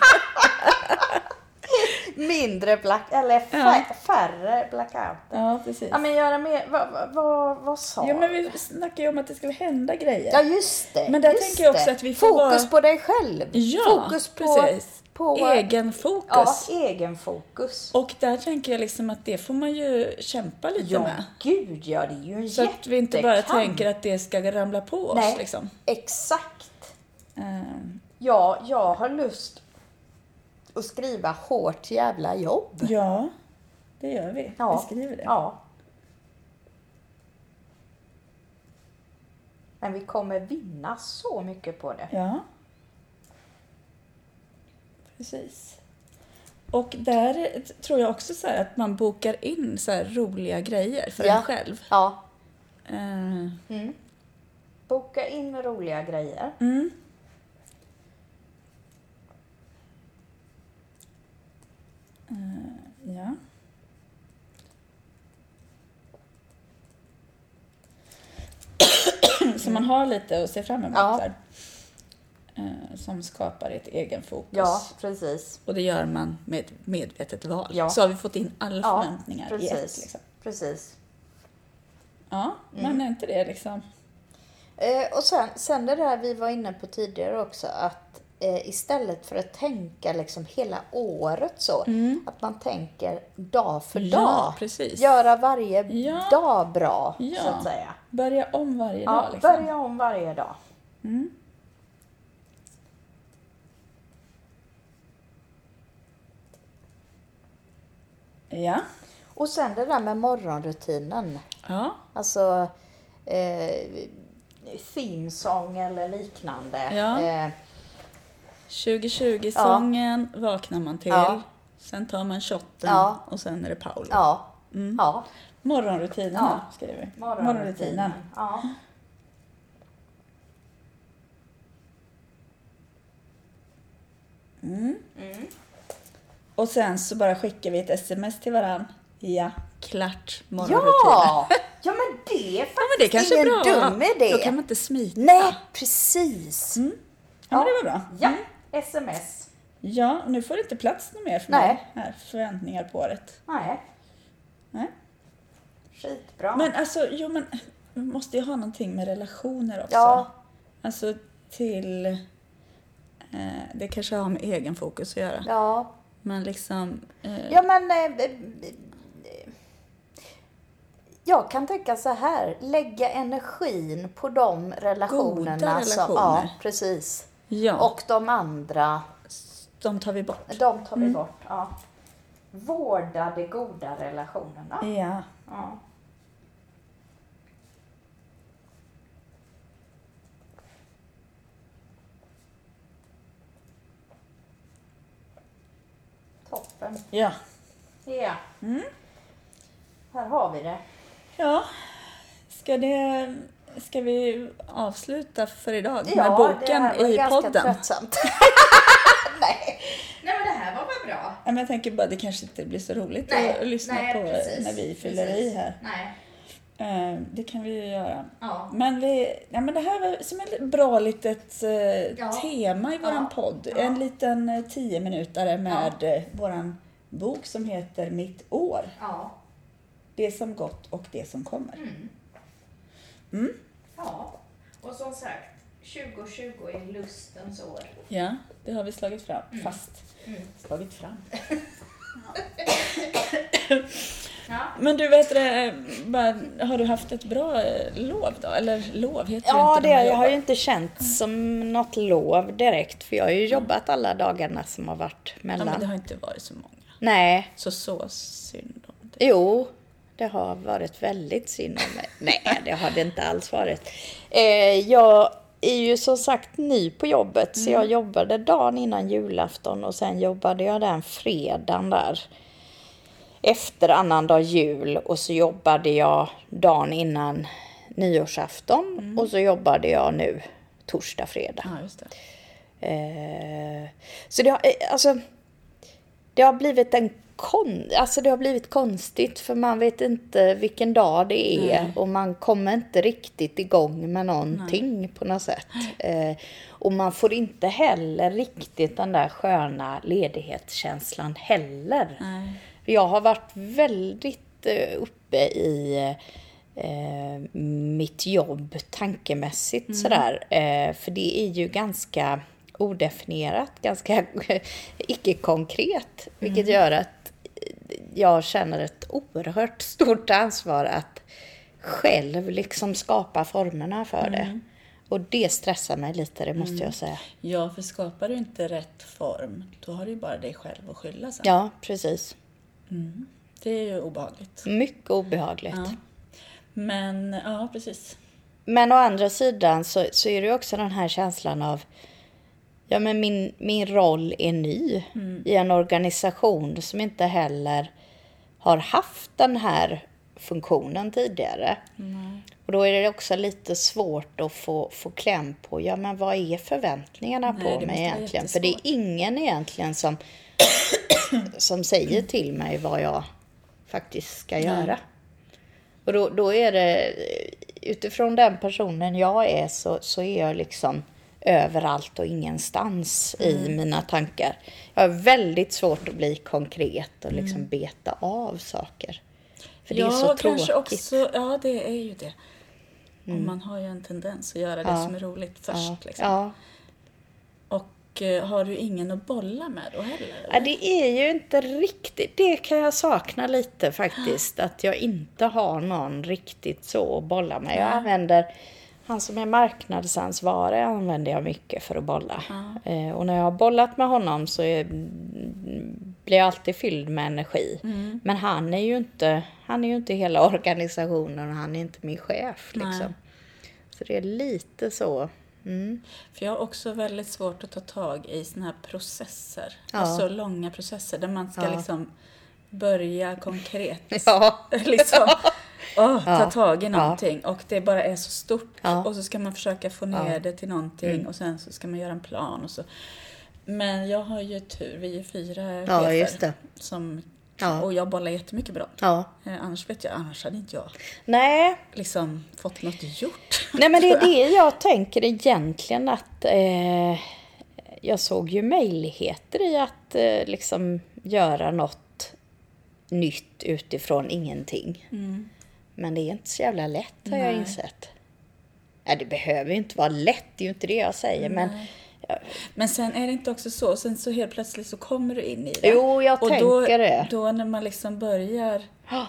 mindre black, eller fär, färre blackouter.
Ja, precis.
Ja men göra mer, vad, vad, vad, vad sa
Ja, men
du?
vi snackade ju om att det skulle hända grejer.
Ja just det.
Men där
just
tänker jag också
det.
att vi får
Fokus
vara-
på dig själv.
Ja,
fokus på,
precis.
på
Egen fokus.
Ja, egen fokus.
Och där tänker jag liksom att det får man ju kämpa lite
Ja,
med.
gud ja, det är ju en
Så att vi inte bara
jättekamp.
tänker att det ska ramla på oss.
Nej,
Liksom.
exakt.
Ehm,
Ja, jag har lust att skriva hårt jävla jobb.
ja, det gör vi.
Ja.
Vi skriver det.
Ja. Men vi kommer vinna så mycket på det.
Ja. Precis. Och där tror jag också så här att man bokar in så här roliga grejer för
Ja.
en själv.
Ja,
Ehm,
Boka in roliga grejer.
Mm. Eh, Ja. Så man har lite att se fram emot
Ja.
där. Eh, Som skapar ett egen fokus.
Ja, precis.
Och det gör man med ett medvetet val.
Ja.
Så har vi fått in alla
Ja,
förväntningar i ett.
precis. Mm.
Liksom.
precis.
Ja, men är inte det liksom...
Eh, och sen, sen det där vi var inne på tidigare också, att eh, istället för att tänka liksom hela året så, att man tänker dag för
Mm. Ja,
dag.
precis.
Göra varje
Ja.
dag bra,
Ja.
så att säga.
Börja om varje
Ja,
dag. Liksom.
Börja om varje dag.
Ja.
Och sen det där med morgonrutinen.
Ja.
Alltså eh, theme song eller liknande.
Ja.
Eh,
2020-sången vaknar man till.
Ja.
Sen tar man shotten
Ja.
och sen är det Paolo.
ja. ja.
Morgonrutinerna skriver vi.
Morgonrutinen. Ja.
Och sen så bara skickar vi ett sms till varandra. Ja, klart. Morgonrutin.
Ja! Ja men det är faktiskt
men det kanske är
ingen
bra.
dum idé.
Då kan man inte smita.
Nej, precis.
Ja, men det var bra.
Mm. Ja, sms.
Ja, och nu får det inte plats något mer för
Nej.
mig här. Förväntningar på året.
Nej,
Nej.
skitbra.
Men alltså, jo men man måste ju ha någonting med relationer också.
Ja.
Alltså till... Eh, det kanske har med egen fokus att göra.
ja.
Men liksom... Eh,
ja, men... eh, eh, eh, Jag kan tänka så här, lägga energin på de relationerna. Som, ja,
relationer.
precis.
ja,
Och de andra,
de tar vi bort.
de tar vi bort. Ja. Vårda de goda relationerna.
Ja.
Ja. Toppen.
Ja.
Ja.
Mm.
Här har vi det.
Ja. Ska, det, ska vi avsluta för idag
ja,
med boken
det här var
i
ganska
podden?
tröttsamt. Nej. Nej, men det här var väl bra?
Ja, men jag tänker bara det kanske inte blir så roligt att, att lyssna
nej,
på
precis,
när vi fyller i
precis.
här.
Nej.
Eh, det kan vi ju göra.
Ja.
Men, vi, ja, men det här var som ett bra litet eh, tema i våran
Ja.
podd.
Ja.
En liten eh, tio minutare med eh, våran bok som heter Mitt år.
Ja.
哦
Det som gått och det som kommer.
哦
Ja. Och som sagt, 2020 är lustens år.
Ja, det har vi slagit fram. Fast. Slagit fram.
Ja.
Men du, vet det, eh, bara, har du haft ett bra eh, lov då? Eller lov heter
Ja,
inte
det,
när man
jag har
jobbar.
ju inte känt som något lov direkt för jag har ju jobbat alla dagarna som har varit
Mm. Ja,
mellan.
men det har inte varit så många.
Nej,
Så så synd om det.
Jo, det har varit väldigt synd om mig. Nej, det har det inte alls varit. Eh, jag är ju som sagt ny på jobbet, så jag jobbade dagen innan julafton och sen jobbade jag den fredagen där. Efter annandag jul och så jobbade jag dagen innan nyårsafton och så jobbade jag nu torsdag, fredag.
Ja, just det.
Eh, så det har, eh, alltså, det har blivit en kon, alltså det har blivit konstigt för man vet inte vilken dag det är och man kommer inte riktigt igång med någonting på något sätt. Eh, och man får inte heller riktigt den där sköna ledighetskänslan heller.
Nej.
Jag har varit väldigt eh, uppe i eh, mitt jobb tankemässigt sådär. Eh, för det är ju ganska odefinierat, ganska icke-konkret. Vilket gör att jag känner ett oerhört stort ansvar att själv liksom skapa formerna för det. Och det stressar mig lite, det måste jag säga.
Ja, för skapar du inte rätt form, då har du ju bara dig själv att skylla sen.
Ja, precis.
Det är ju obehagligt.
Mycket obehagligt.
Ja. Men, ja precis.
Men å andra sidan så, så är det ju också den här känslan av Ja men min, min roll är ny
Mm.
i en organisation som inte heller har haft den här funktionen tidigare. Och då är det också lite svårt att få, få kläm på, ja men vad är förväntningarna
Nej, det
på
måste
mig
vara
egentligen? För det är ingen egentligen som, som säger till mig vad jag faktiskt ska göra. Och då, då är det, utifrån den personen jag är så, så är jag liksom överallt och ingenstans i
Mm.
mina tankar. Jag har väldigt svårt att bli konkret och liksom beta av saker. För det är så tråkigt.
Mm. kanske också. Ja, det är ju det. Och man har ju en tendens att göra det som är roligt först.
Mm. ja.
Liksom.
Ja.
Och eh, har du ingen att bolla med då heller?
ja, det är ju inte riktigt, det kan jag sakna lite faktiskt. Att jag inte har någon riktigt så att bolla med. Jag använder, han som är marknadsansvarig använder jag mycket för att bolla. Eh, och när jag har bollat med honom så är, blir jag alltid fylld med energi. Men han är ju inte, han är ju inte hela organisationen och han är inte min chef liksom. Så det är lite så. Mm.
För jag har också väldigt svårt att ta tag i såna här processer. Alltså långa processer där man ska liksom börja konkret.
Ja.
liksom, åh, ta tag i någonting och det bara är så
Mm.
stort och så ska man försöka få ner det till någonting och sen så ska man göra en plan och så Men jag har ju tur, vi är fyra
Ja, just det.
Som,
Ja.
Och jag bollar jättemycket bra.
Ja.
Eh, annars vet jag, annars hade inte jag
Nej,
liksom fått något gjort.
Nej men det är det jag tänker egentligen att eh, jag såg ju möjligheter i att eh, liksom göra något nytt utifrån ingenting.
Mm.
Men det är inte så jävla lätt har jag insett. Ja, det behöver ju inte vara lätt, det är ju inte det jag säger. Men
Men sen är det inte också så, sen så helt plötsligt så kommer du in i det.
Jo, jag
och då,
tänker det.
då när man liksom börjar,
Ja. Mm.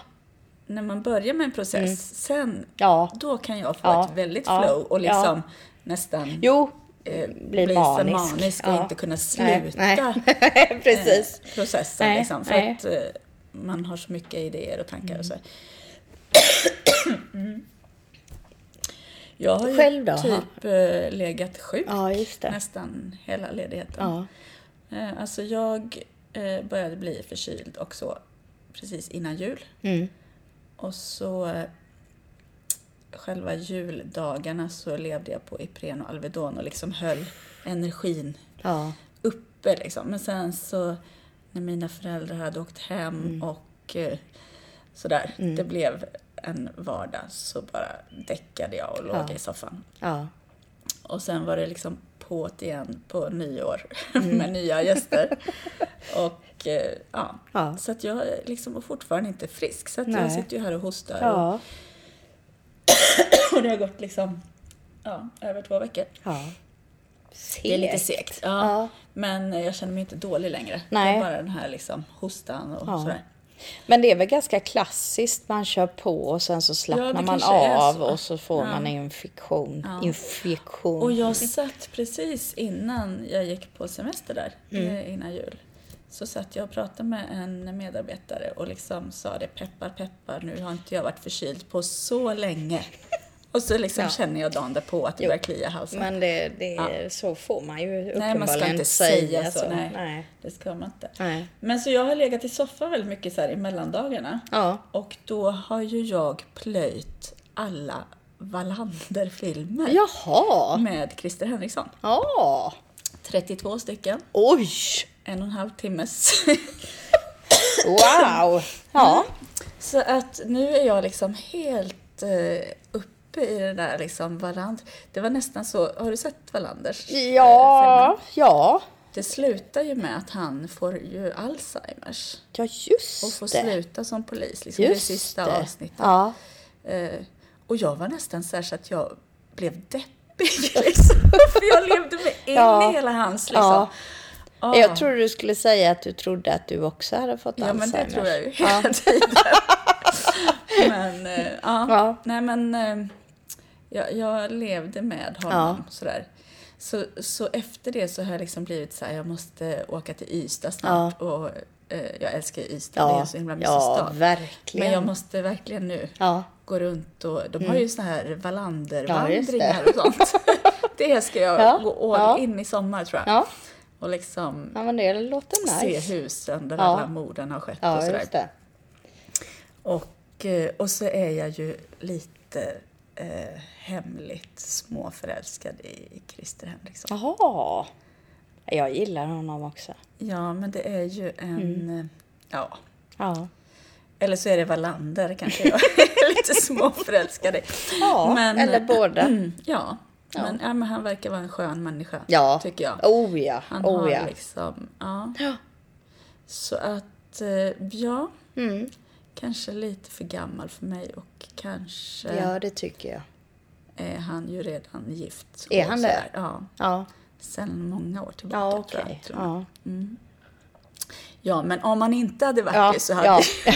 när man börjar med en process, sen,
Ja.
då kan jag få
Ja.
ett väldigt
Ja.
flow och liksom
Ja.
nästan
jo,
eh,
blir
bli
manisk.
så manisk och
Ja.
inte kunna
nej,
sluta
nej. precis.
eh, processen.
Nej,
Liksom, för
nej.
att eh, man har så mycket idéer och tankar och så. mm. Jag har ju
Mm. Själv då?
typ eh, legat sjuk
Ja, just det.
nästan hela ledigheten.
Ja.
Eh, Alltså jag eh, började bli förkyld och så precis innan jul.
Mm.
Och så eh, själva juldagarna så levde jag på Ipren och Alvedon och liksom höll energin
Ja.
uppe liksom. Men sen så när mina föräldrar hade åkt hem
Mm.
och eh, sådär, det blev en vardag så bara däckade jag och låg
Ja.
i soffan.
Ja.
Och sen var det liksom på't igen på nyår
Mm.
med nya gäster. och eh, ja.
Ja.
så att jag är liksom fortfarande inte frisk. Så att jag
Nej.
sitter ju här och hostar
Ja.
och, och det har gått liksom ja, över två veckor.
ja.
Det är lite
Segt.
segt. Ja.
Ja.
Men jag känner mig inte dålig längre. Det
Nej.
är bara den här liksom hostan och
Ja.
sådär.
Men det är väl ganska klassiskt, man kör på och sen så
Ja,
slappnar
det
man
kanske är
av
så.
och så får
Ja.
man en infektion. infektion.
Och jag satt precis innan jag gick på semester där,
Mm.
eh, innan jul. Så satt jag och pratade med en medarbetare och liksom sa det peppar peppar nu har inte jag varit förkyld på så länge. Och så liksom
Ja.
känner jag dagen därpå att det börjar klia i halsen.
Men det, det, så får man ju uppenbarligen
nej man ska inte säga så. Nej,
Nej.
Det ska man inte.
Nej.
Men så jag har legat i soffan väldigt mycket så här i mellandagarna.
Ja.
Och då har ju jag plöjt alla Wallander-filmer
Jaha!
med Christer Henriksson.
Ja!
32 stycken,
Oj!
en och en halv timmes.
Wow! Ja.
Mm. så att nu är jag liksom helt eh, uppe i det där liksom Wallander. Det var nästan så, har du sett Wallanders eh,
Ja,
filmer?
ja.
Det slutar ju med att han får ju Alzheimers
Ja,
och får
just det.
sluta som polis liksom
Just
det sista
det.
avsnittet.
Ja.
Eh, och jag var nästan så här så att jag blev deppig liksom. För jag levde mig in
Ja.
i hela hans liksom.
Ja.
Ah.
Jag trodde du skulle säga att du trodde att du också hade fått
Ja men
Alzheimers.
det tror jag ju hela tiden. men eh, ja.
Ja.
nej men eh, jag, jag levde med honom sådär. Så, så efter det så har jag liksom blivit så här, jag måste åka till Ystad snart och eh, jag älskar Ystad, det är en så himla mysig
ja,
stad.
verkligen.
Men jag måste verkligen nu
Ja. Mm.
gå runt och de har ju såna här
Ja, just
Wallander-vandringar
det.
och sånt. Det ska jag
Ja,
gå all
ja.
in i sommar tror jag.
Ja.
Och liksom
ja, men det låter nice.
se husen där
Ja.
alla morden har skett och
Ja,
sådär.
just det.
Och, eh, och så är jag ju lite eh, hemligt småförälskad i Christer Henriksson.
Jaha. Jag gillar honom också.
Ja, men det är ju en...
Mm.
eh, Ja.
Ja.
Eller så är det Wallander kanske jag är lite småförälskad i.
Ja, eller båda.
Mm, ja. Men, ja, men han verkar vara en skön människa,
Ja.
tycker jag.
Oh ja.
Han
oh
har
ja.
liksom... Ja.
Ja.
Så att, eh, ja.
Mm.
Kanske lite för gammal för mig och kanske...
ja, det tycker jag.
är Eh, han ju redan gift.
Är
och
han
sådär.
det?
Ja,
Ja,
sen många år tillbaka
ja
tror
okej.
jag. Tror jag.
Ja.
ja, men om han inte hade varit
Ja,
det så hade,
ja.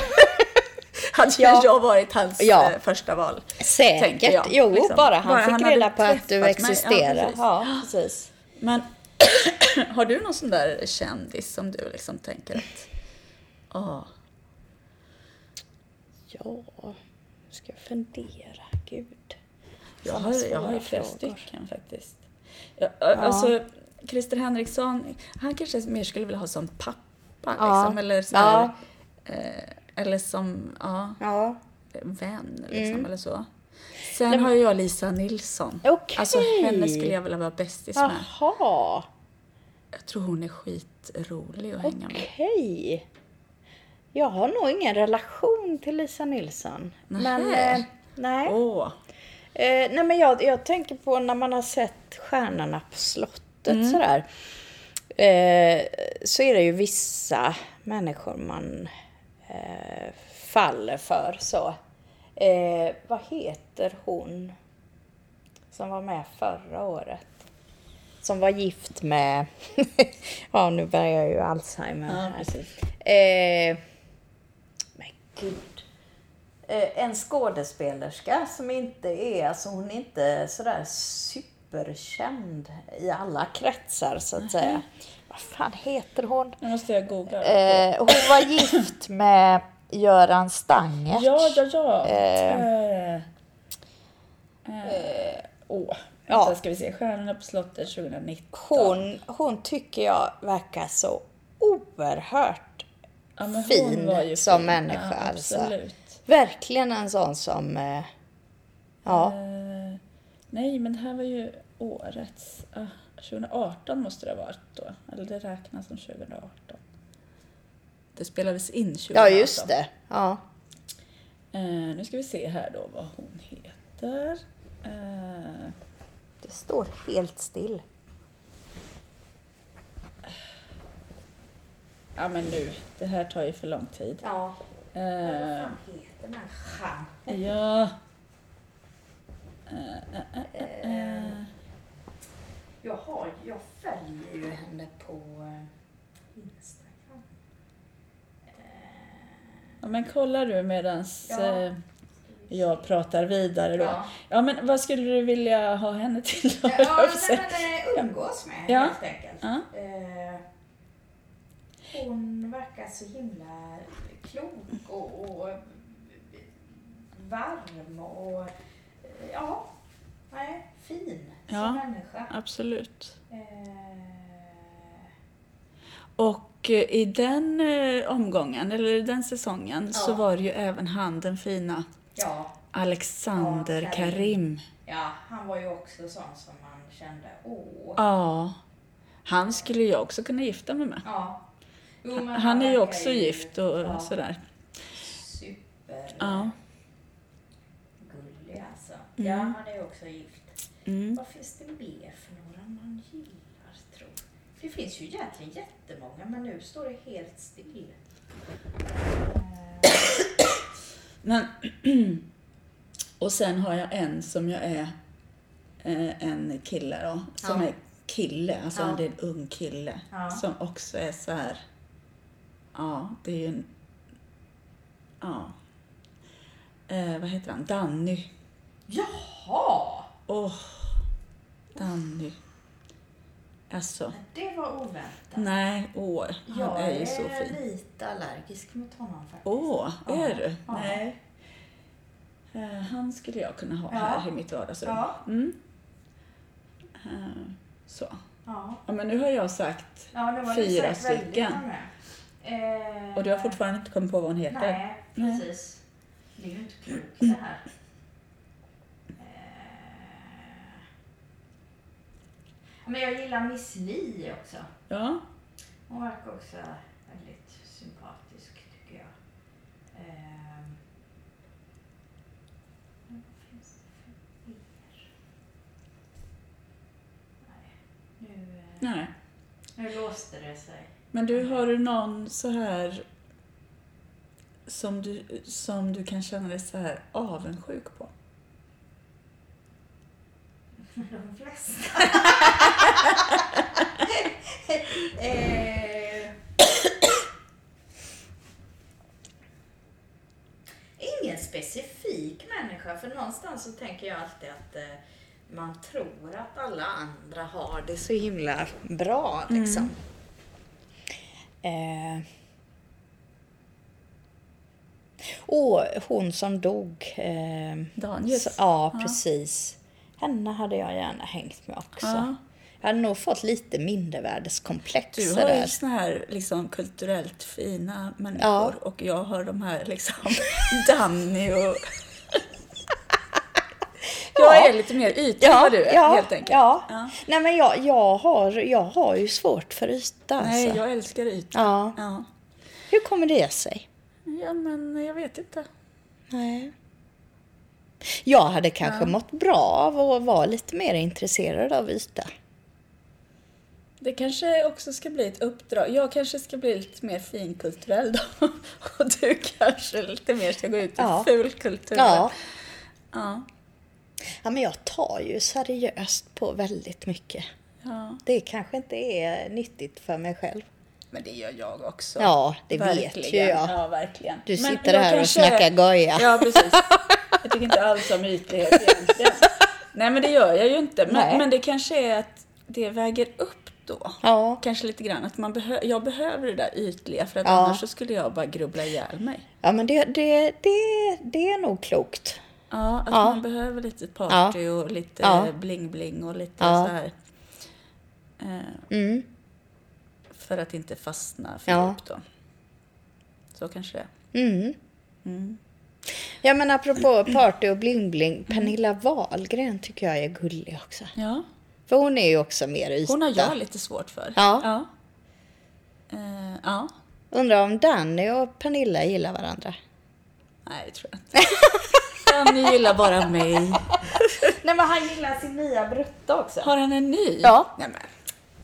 hade ju
Ja.
jag varit hans
Ja.
eh, första val. tänker
Säkert.
jag,
jo,
liksom.
bara han
Bara
fick
han hade
reda på att
träffat
du
mig.
existerar.
Ja, precis.
precis.
Men har du någon sån där kändis som du liksom tänker att ja,
Ja. Ska jag fundera? Gud.
jag
Fan,
har,
vad
jag har ju
svåra
flera
frågor.
stycken faktiskt. Ja, alltså, Christer Henriksson, han kanske mer skulle vilja ha som pappa liksom, eller så här,
Ja.
eh, eller som, ja.
Ja.
vän liksom,
Mm.
eller så. Sen har ju jag Lisa Nilsson.
Okej.
Alltså henne skulle jag vilja vara bästis med.
Jaha.
Jag tror hon är skitrolig att hänga med.
Okej. Jag har nog ingen relation till Lisa Nilsson. Men,
Nähä.
eh, nej.
Åh,
Eh, nej men jag, jag tänker på när man har sett Stjärnorna på slottet sådär. Eh, så är det ju vissa människor man eh, faller för så. Eh, vad heter hon som var med förra året? Som var gift med... ja, nu börjar jag ju Alzheimer här. Eh, men gud. Eh, en skådespelerska som inte är, alltså hon är inte sådär superkänd i alla kretsar så att säga. Vad fan heter hon?
nu måste jag googla.
Eh, hon var gift med Göran Stange.
Ja, ja, ja. Eh. Eh. Åh, vänta ska vi se. Stjärnorna på slottet 2019.
Hon, hon tycker jag verkar så oerhört
Ja, men hon
fin
var ju
som
fin.
människa
Ja,
alltså.
absolut.
Verkligen en sån som, eh, ja.
Eh, nej, men det här var ju årets. ah, 2018 måste det ha varit då. Eller det räknas som 2018. Det spelades in 2018.
Ja, just det. Ja.
Eh, nu ska vi se här då vad hon heter. Eh,
Det står helt still.
ja, men nu. Det här tar ju för lång tid.
Ja.
Eh,
heter den här Jean?
ja.
Eh, Jag, har, jag följer ju henne på eh, Instagram.
Ja, men kollar du medans eh, jag pratar vidare då. Ja. men vad skulle du vilja ha henne till då? höll jag på att säga.
umgås med
Ja.
helt enkelt.
Ja.
Eh, Hon verkar så himla klok och, och varm och eh, ja, nej, fin
Ja.
som människa.
Absolut.
Eh,
Och eh, i den eh, omgången, eller i den säsongen, så var det ju även han den fina
ja.
Alexander
Ja, Karim.
Karim.
Ja, han var ju också sån som man kände, åh.
Ja. Han skulle jag också kunna gifta mig med.
Ja. Jo, men
Han är ju
verkar
också gift och
ja,
sådär.
Supergullig
Ja.
alltså. Ja, han är ju också gift.
Mm.
Vad finns det mer för några man gillar, tror Det finns ju egentligen jättemånga, men nu står det helt still.
Men, och sen har jag en som jag är eh, en kille då, som är kille, alltså det är en ung kille
Ja.
som också är så här. ja det är ju en, ja, eh, vad heter han, Danny.
Jaha!
Åh, Danny. Alltså,
Det var oväntat.
nej, åh, han
Jag
är ju så fin.
lite allergisk mot honom faktiskt.
Åh, är
Ja,
du?
ja.
Nej. Eh, han skulle jag kunna ha
Ja.
här i mitt vardagsrum.
Ja.
Mm. Eh, så.
Ja.
Ja, men nu har jag sagt
Ja, det var
Fyra
det säkert väldigt
stycken.
många. Eh,
och du har fortfarande inte kommit på vad hon heter.
Nej,
Nej.
precis. Det är ju inte klokt det här. Eh, Men jag gillar Miss Li också.
Ja.
Hon verkar också väldigt sympatisk tycker jag. Eh, men vad finns det för mer? Nej, nu, eh,
Nej.
nu låste det sig.
Men du, har du någon så här som du, som du kan känna dig så här avundsjuk på?
De flesta. eh, ingen specifik människa, för någonstans så tänker jag alltid att eh, man tror att alla andra har det så himla bra. Liksom. Eh. Och hon som dog. Eh,
Danius.
så- ja, precis. Henne hade jag gärna hängt med också.
Ja.
Jag hade nog fått lite mindervärdeskomplex
Du har ju
där.
såna här liksom, kulturellt fina människor
Ja.
och jag har de här liksom Danny och... Jag är lite mer ytlig än vad du är
ja,
helt enkelt.
Ja.
Ja.
Nej men jag, jag, har, jag har ju svårt för yta alltså.
Nej, jag älskar yta.
ja.
Ja.
Hur kommer det sig?
ja, men jag vet inte.
Nej. Jag hade kanske mått bra av att vara lite mer intresserad av yta.
Det kanske också ska bli ett uppdrag. Jag kanske ska bli lite mer finkulturell då. Och du kanske lite mer ska gå ut i
Ja.
fulkulturen.
Ja.
Ja.
ja, men jag tar ju seriöst på väldigt mycket.
ja.
Det kanske inte är nyttigt för mig själv.
Men det gör jag också.
Ja, det vet ju
verkligen.
jag.
Ja, verkligen.
Du
Men
sitter
jag
här och
kanske-
snackar goja.
Ja, precis. Jag tycker inte alls om ytlighet egentligen. Nej, men det gör jag ju inte.
Nej.
Men, men det kanske är att det väger upp då.
Ja.
Kanske lite grann att man behö- jag behöver det där ytliga för att
Ja.
annars så skulle jag bara grubbla ihjäl mig.
Ja, men det, det, det, det är nog klokt.
Ja, att
Ja.
man behöver lite party och lite
Ja.
bling-bling och lite
Ja.
så här. Eh,
Mm.
för att inte fastna för
Ja.
djupt då. Så kanske det är.
Mm. Ja, men apropå party och
Mm.
bling-bling. Pernilla Wahlgren tycker jag är gullig också.
Ja,
För hon är ju också mer yta.
hon har jag lite svårt för.
Ja.
Ja. Eh, ja.
Undrar om Danny och Pernilla gillar varandra?
Nej, det tror jag inte. Danny gillar bara mig.
Nej men han gillar sin nya brutta också.
Har han en ny?
Ja.
Nej, men.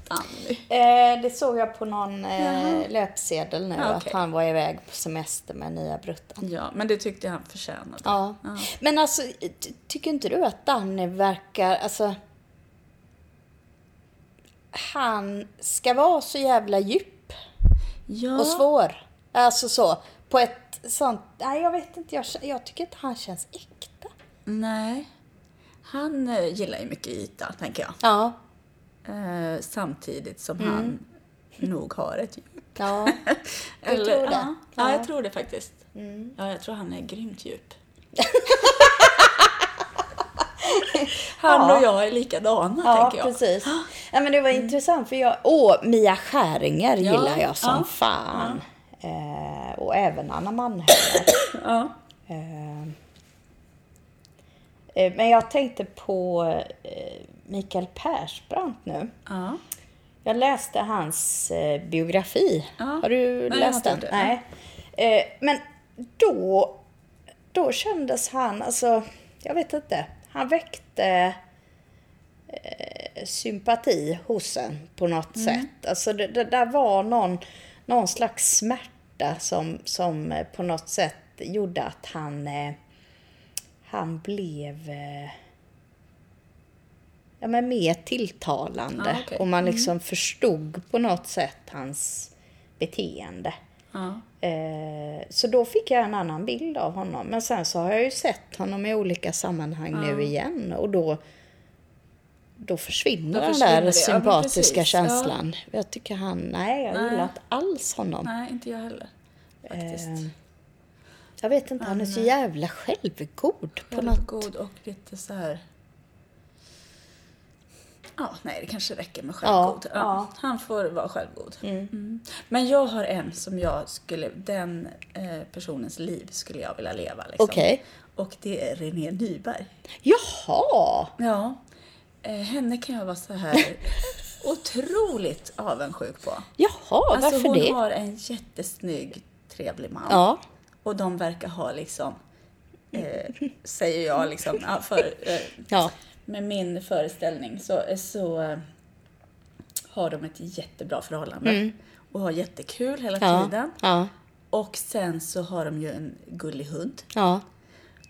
Danny.
Eh, det såg jag på någon eh, löpsedel nu,
Ja,
att
okej.
han var iväg på semester med nya bruttan.
Ja, men det tyckte han förtjänade.
Ja. Men alltså, ty- tycker inte du att Danny verkar... Alltså, han ska vara så jävla djup
Ja.
och svår. Alltså så, på ett sånt... Nej, jag vet inte. Jag, jag tycker inte han känns äkta.
Nej. Han eh, gillar ju mycket yta, tänker jag.
Ja.
Eh, samtidigt som
Mm.
han nog har ett djup.
Ja. tror det?
Ja,
Ja. Mm.
ja. jag tror det faktiskt. Ja, jag tror han är grymt djup. han och jag är likadana,
Ja,
tänker jag. Mm.
precis. Ja, men det var intressant för jag... Åh, Mia Skäringer
Ja,
gillar jag som
ja,
fan. Eh, och även Anna Mannheimer.
Ja.
Eh, men jag tänkte på eh, Mikael Persbrandt nu.
Ja.
Jag läste hans eh, biografi.
Ja.
Har du
Nej,
läst
jag
den?
har inte gjort
Nej.
det.
Eh, men då, då kändes han, alltså, jag vet inte. Han väckte eh, sympati hos en på något
Mm.
sätt. Alltså det, det där var någon, någon slags smärta som, som eh, på något sätt gjorde att han, eh, han blev eh, ja, men mer tilltalande.
Ja, Ah, okej. Mm.
Och man liksom förstod på något sätt hans beteende.
Ja.
Eh, Så då fick jag en annan bild av honom. Men sen så har jag ju sett honom i olika sammanhang
Ah.
nu igen och då, då försvinner
Då
den
försvinner det.
där
Ja, men
sympatiska
precis. Ja.
känslan. Jag tycker han, nej jag
Nej.
gillar inte alls honom.
Nej, inte jag heller. Faktiskt.
Eh, Jag vet inte, han är så jävla självgod på något.
Självgod och lite så här... Ja, nej, det kanske räcker med
Ja,
självgod. Ja,
ja.
Han får vara självgod. Mm. Men jag har en som jag skulle... Den eh, personens liv skulle jag vilja leva. Liksom.
Okej.
Och det är René Nyberg.
Jaha!
Ja. Eh, henne kan jag vara så här otroligt avundsjuk på.
Jaha,
alltså,
varför
hon
det?
har en jättesnygg, trevlig man.
Ja,
Och de verkar ha liksom, eh, säger jag liksom, ja, för, eh,
ja,
med min föreställning så, så eh, har de ett jättebra förhållande. Och har jättekul hela
ja,
tiden.
ja,
Och sen så har de ju en gullig hund.
ja.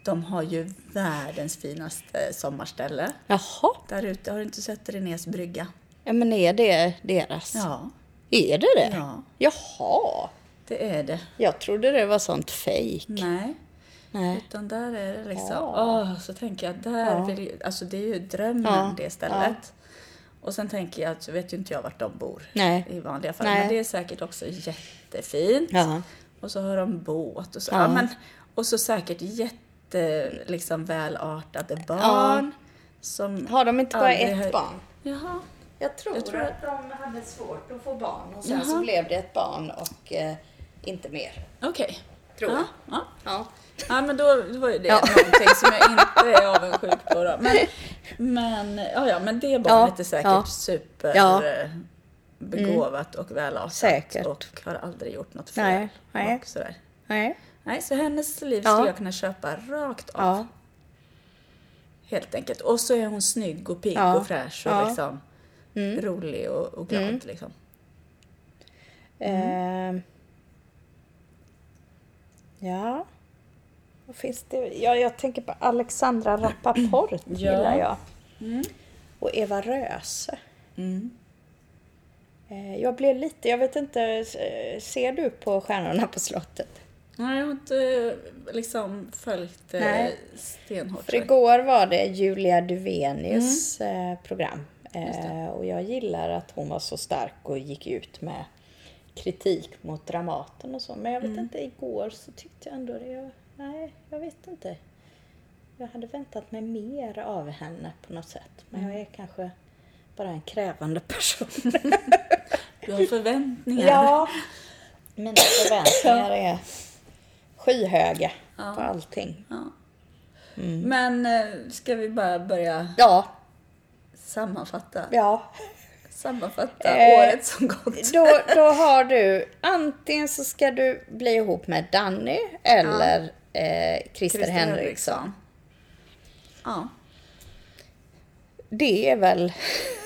De har ju världens finaste sommarställe.
Jaha,
Där ute, har du inte sett Renés brygga?
ja, men är det deras?
Ja,
Är det det?
Ja.
Jaha!
det är det.
Jag trodde det var sånt fejk.
Nej.
Nej.
Utan där är det liksom,
Ja.
åh, så tänker jag, där vill ju, alltså det är ju drömmen
Ja,
det stället. Och sen tänker jag, så vet ju inte jag vart de bor
Nej.
i vanliga fall,
Nej.
men det är säkert också jättefint.
Ja.
Och så har de båt och så, ja. men, och så säkert jätte, liksom välartade barn. Som
Har de inte bara
aldrig
ett
har-
barn?
Jaha.
Jag tror,
Jag tror
att de hade svårt att få barn och sen så blev det ett barn och eh, inte mer.
Okej.
Tror
ja,
jag.
Ja.
Ja.
Ja, men då var ju det någonting som jag inte är avundsjuk på. Då. Men, men, ja, ja, men det barnet är säkert
ja. Ja.
superbegåvat och välartat
Säkert.
och har aldrig gjort något fel.
Nej, nej.
Och sådär.
Nej.
Nej, så hennes liv
Ja.
skulle jag kunna köpa rakt av.
Ja.
Helt enkelt. Och så är hon snygg och pigg
Ja.
och fräsch och
Ja. Mm.
liksom rolig och, och glad. Liksom.
Ehm. ja. Vad finns det? Ja, jag tänker på Alexandra Rappaport gillar jag. Och Eva Röse. Eh, Jag blev lite, jag vet inte, eh, ser du på Stjärnorna på slottet?
Nej, jag har inte liksom följt eh,
Nej.
stenhårt.
För igår var det Julia Duvenius eh, program. Eh, och jag gillar att hon var så stark och gick ut med kritik mot Dramaten och så. Men jag vet inte, igår så tyckte jag ändå det. Jag, nej, jag vet inte. Jag hade väntat mig mer av henne på något sätt. Men jag är kanske bara en krävande person.
Du har förväntningar.
ja. Mina förväntningar är skyhöga på allting.
Men eh, ska vi bara börja
Ja,
sammanfatta?
ja.
Sammanfatta
Eh,
året som gått.
Då, då har du, antingen så ska du bli ihop med Danny eller eh, Christer, Henriksson.
Ja,
Det är väl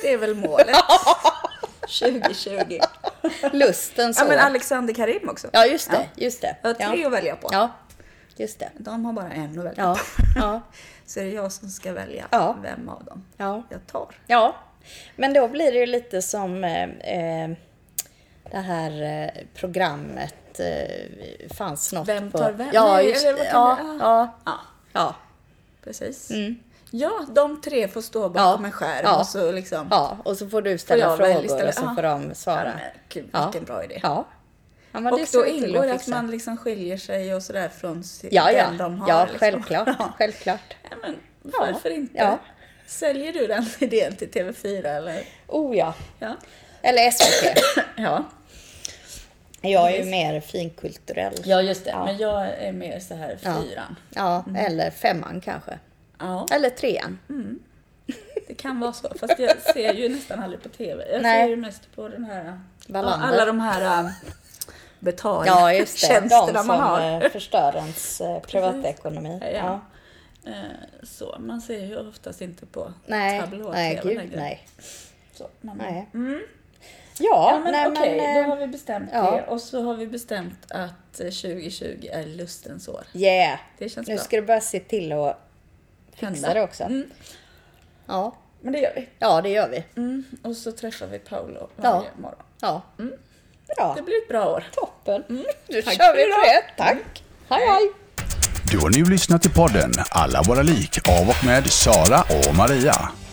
det är väl målet. 2020.
lusten så.
Ja, men Alexander Karim också.
Ja, just det. Just det.
Jag har tre
Ja.
att välja på.
ja, just det.
De har bara en att välja
Ja,
på.
ja,
Så är det jag som ska välja
Ja.
vem av dem
ja.
jag tar.
Ja, men då blir det ju lite som eh, eh, det här eh, programmet eh, fanns något
Vem
på...
tar vem?
Ja,
Nej,
just
eller
det.
vad kan
Ja,
det-
ja,
Ja,
ja,
precis. Ja, de tre får stå bakom
Mm. Ja.
en skärm
Ja.
och så liksom...
ja. Och så får du ställa
jag
frågor
välja istället?
och så
Ja.
får de
Ja,
svara.
men Gud,
Ja.
vilken bra idé.
Ja. ja men
och
det ser
då
ut till
ingår det att
fixa.
man liksom skiljer sig och sådär från si-
Ja, ja.
den de har.
ja
liksom.
självklart.
Ja.
självklart.
Ja, men varför inte?
Ja.
Säljer du den idén till TV4 eller?
Oh ja.
Ja.
Eller SVT.
Ja,
Jag är ju mer finkulturell.
ja just det. Men jag är mer så här fyran.
Ja,
Mm.
eller femman kanske.
Ja.
Eller trean.
det kan vara så. Fast jag ser ju nästan aldrig på TV. Jag
Nej.
ser ju mest på den här... Ja,
Wallander.
alla de här äh,
Ja, just det. De
betaltjänsterna
som
man har.
eh, förstör ens eh, privatekonomi.
Ja.
Ja.
Eh, Så, man ser ju oftast inte på
Nej,
tablå
nej,
TV
gud
längre.
nej.
Så, man-
nej.
Ja,
Ja,
men
nej,
okej,
men...
då
eh,
har vi bestämt
ja.
det. Och så har vi bestämt att eh, 2020 är lustens år.
eh, Yeah.
Det känns
Nu
bra.
ska du bara se till att fixa
Hända.
det också.
Mm,
Ja.
men det gör vi.
ja, det gör vi.
Mm, och så träffar vi Paolo varje morgon.
Ja. Bra.
Mm. Det blir ett bra år.
Toppen. Mm, Nu
Tack
kör
för
vi på det. Tack. Mm. Hej, hej.
Du har nu lyssnat till podden Alla våra lik av och med Sara och Maria.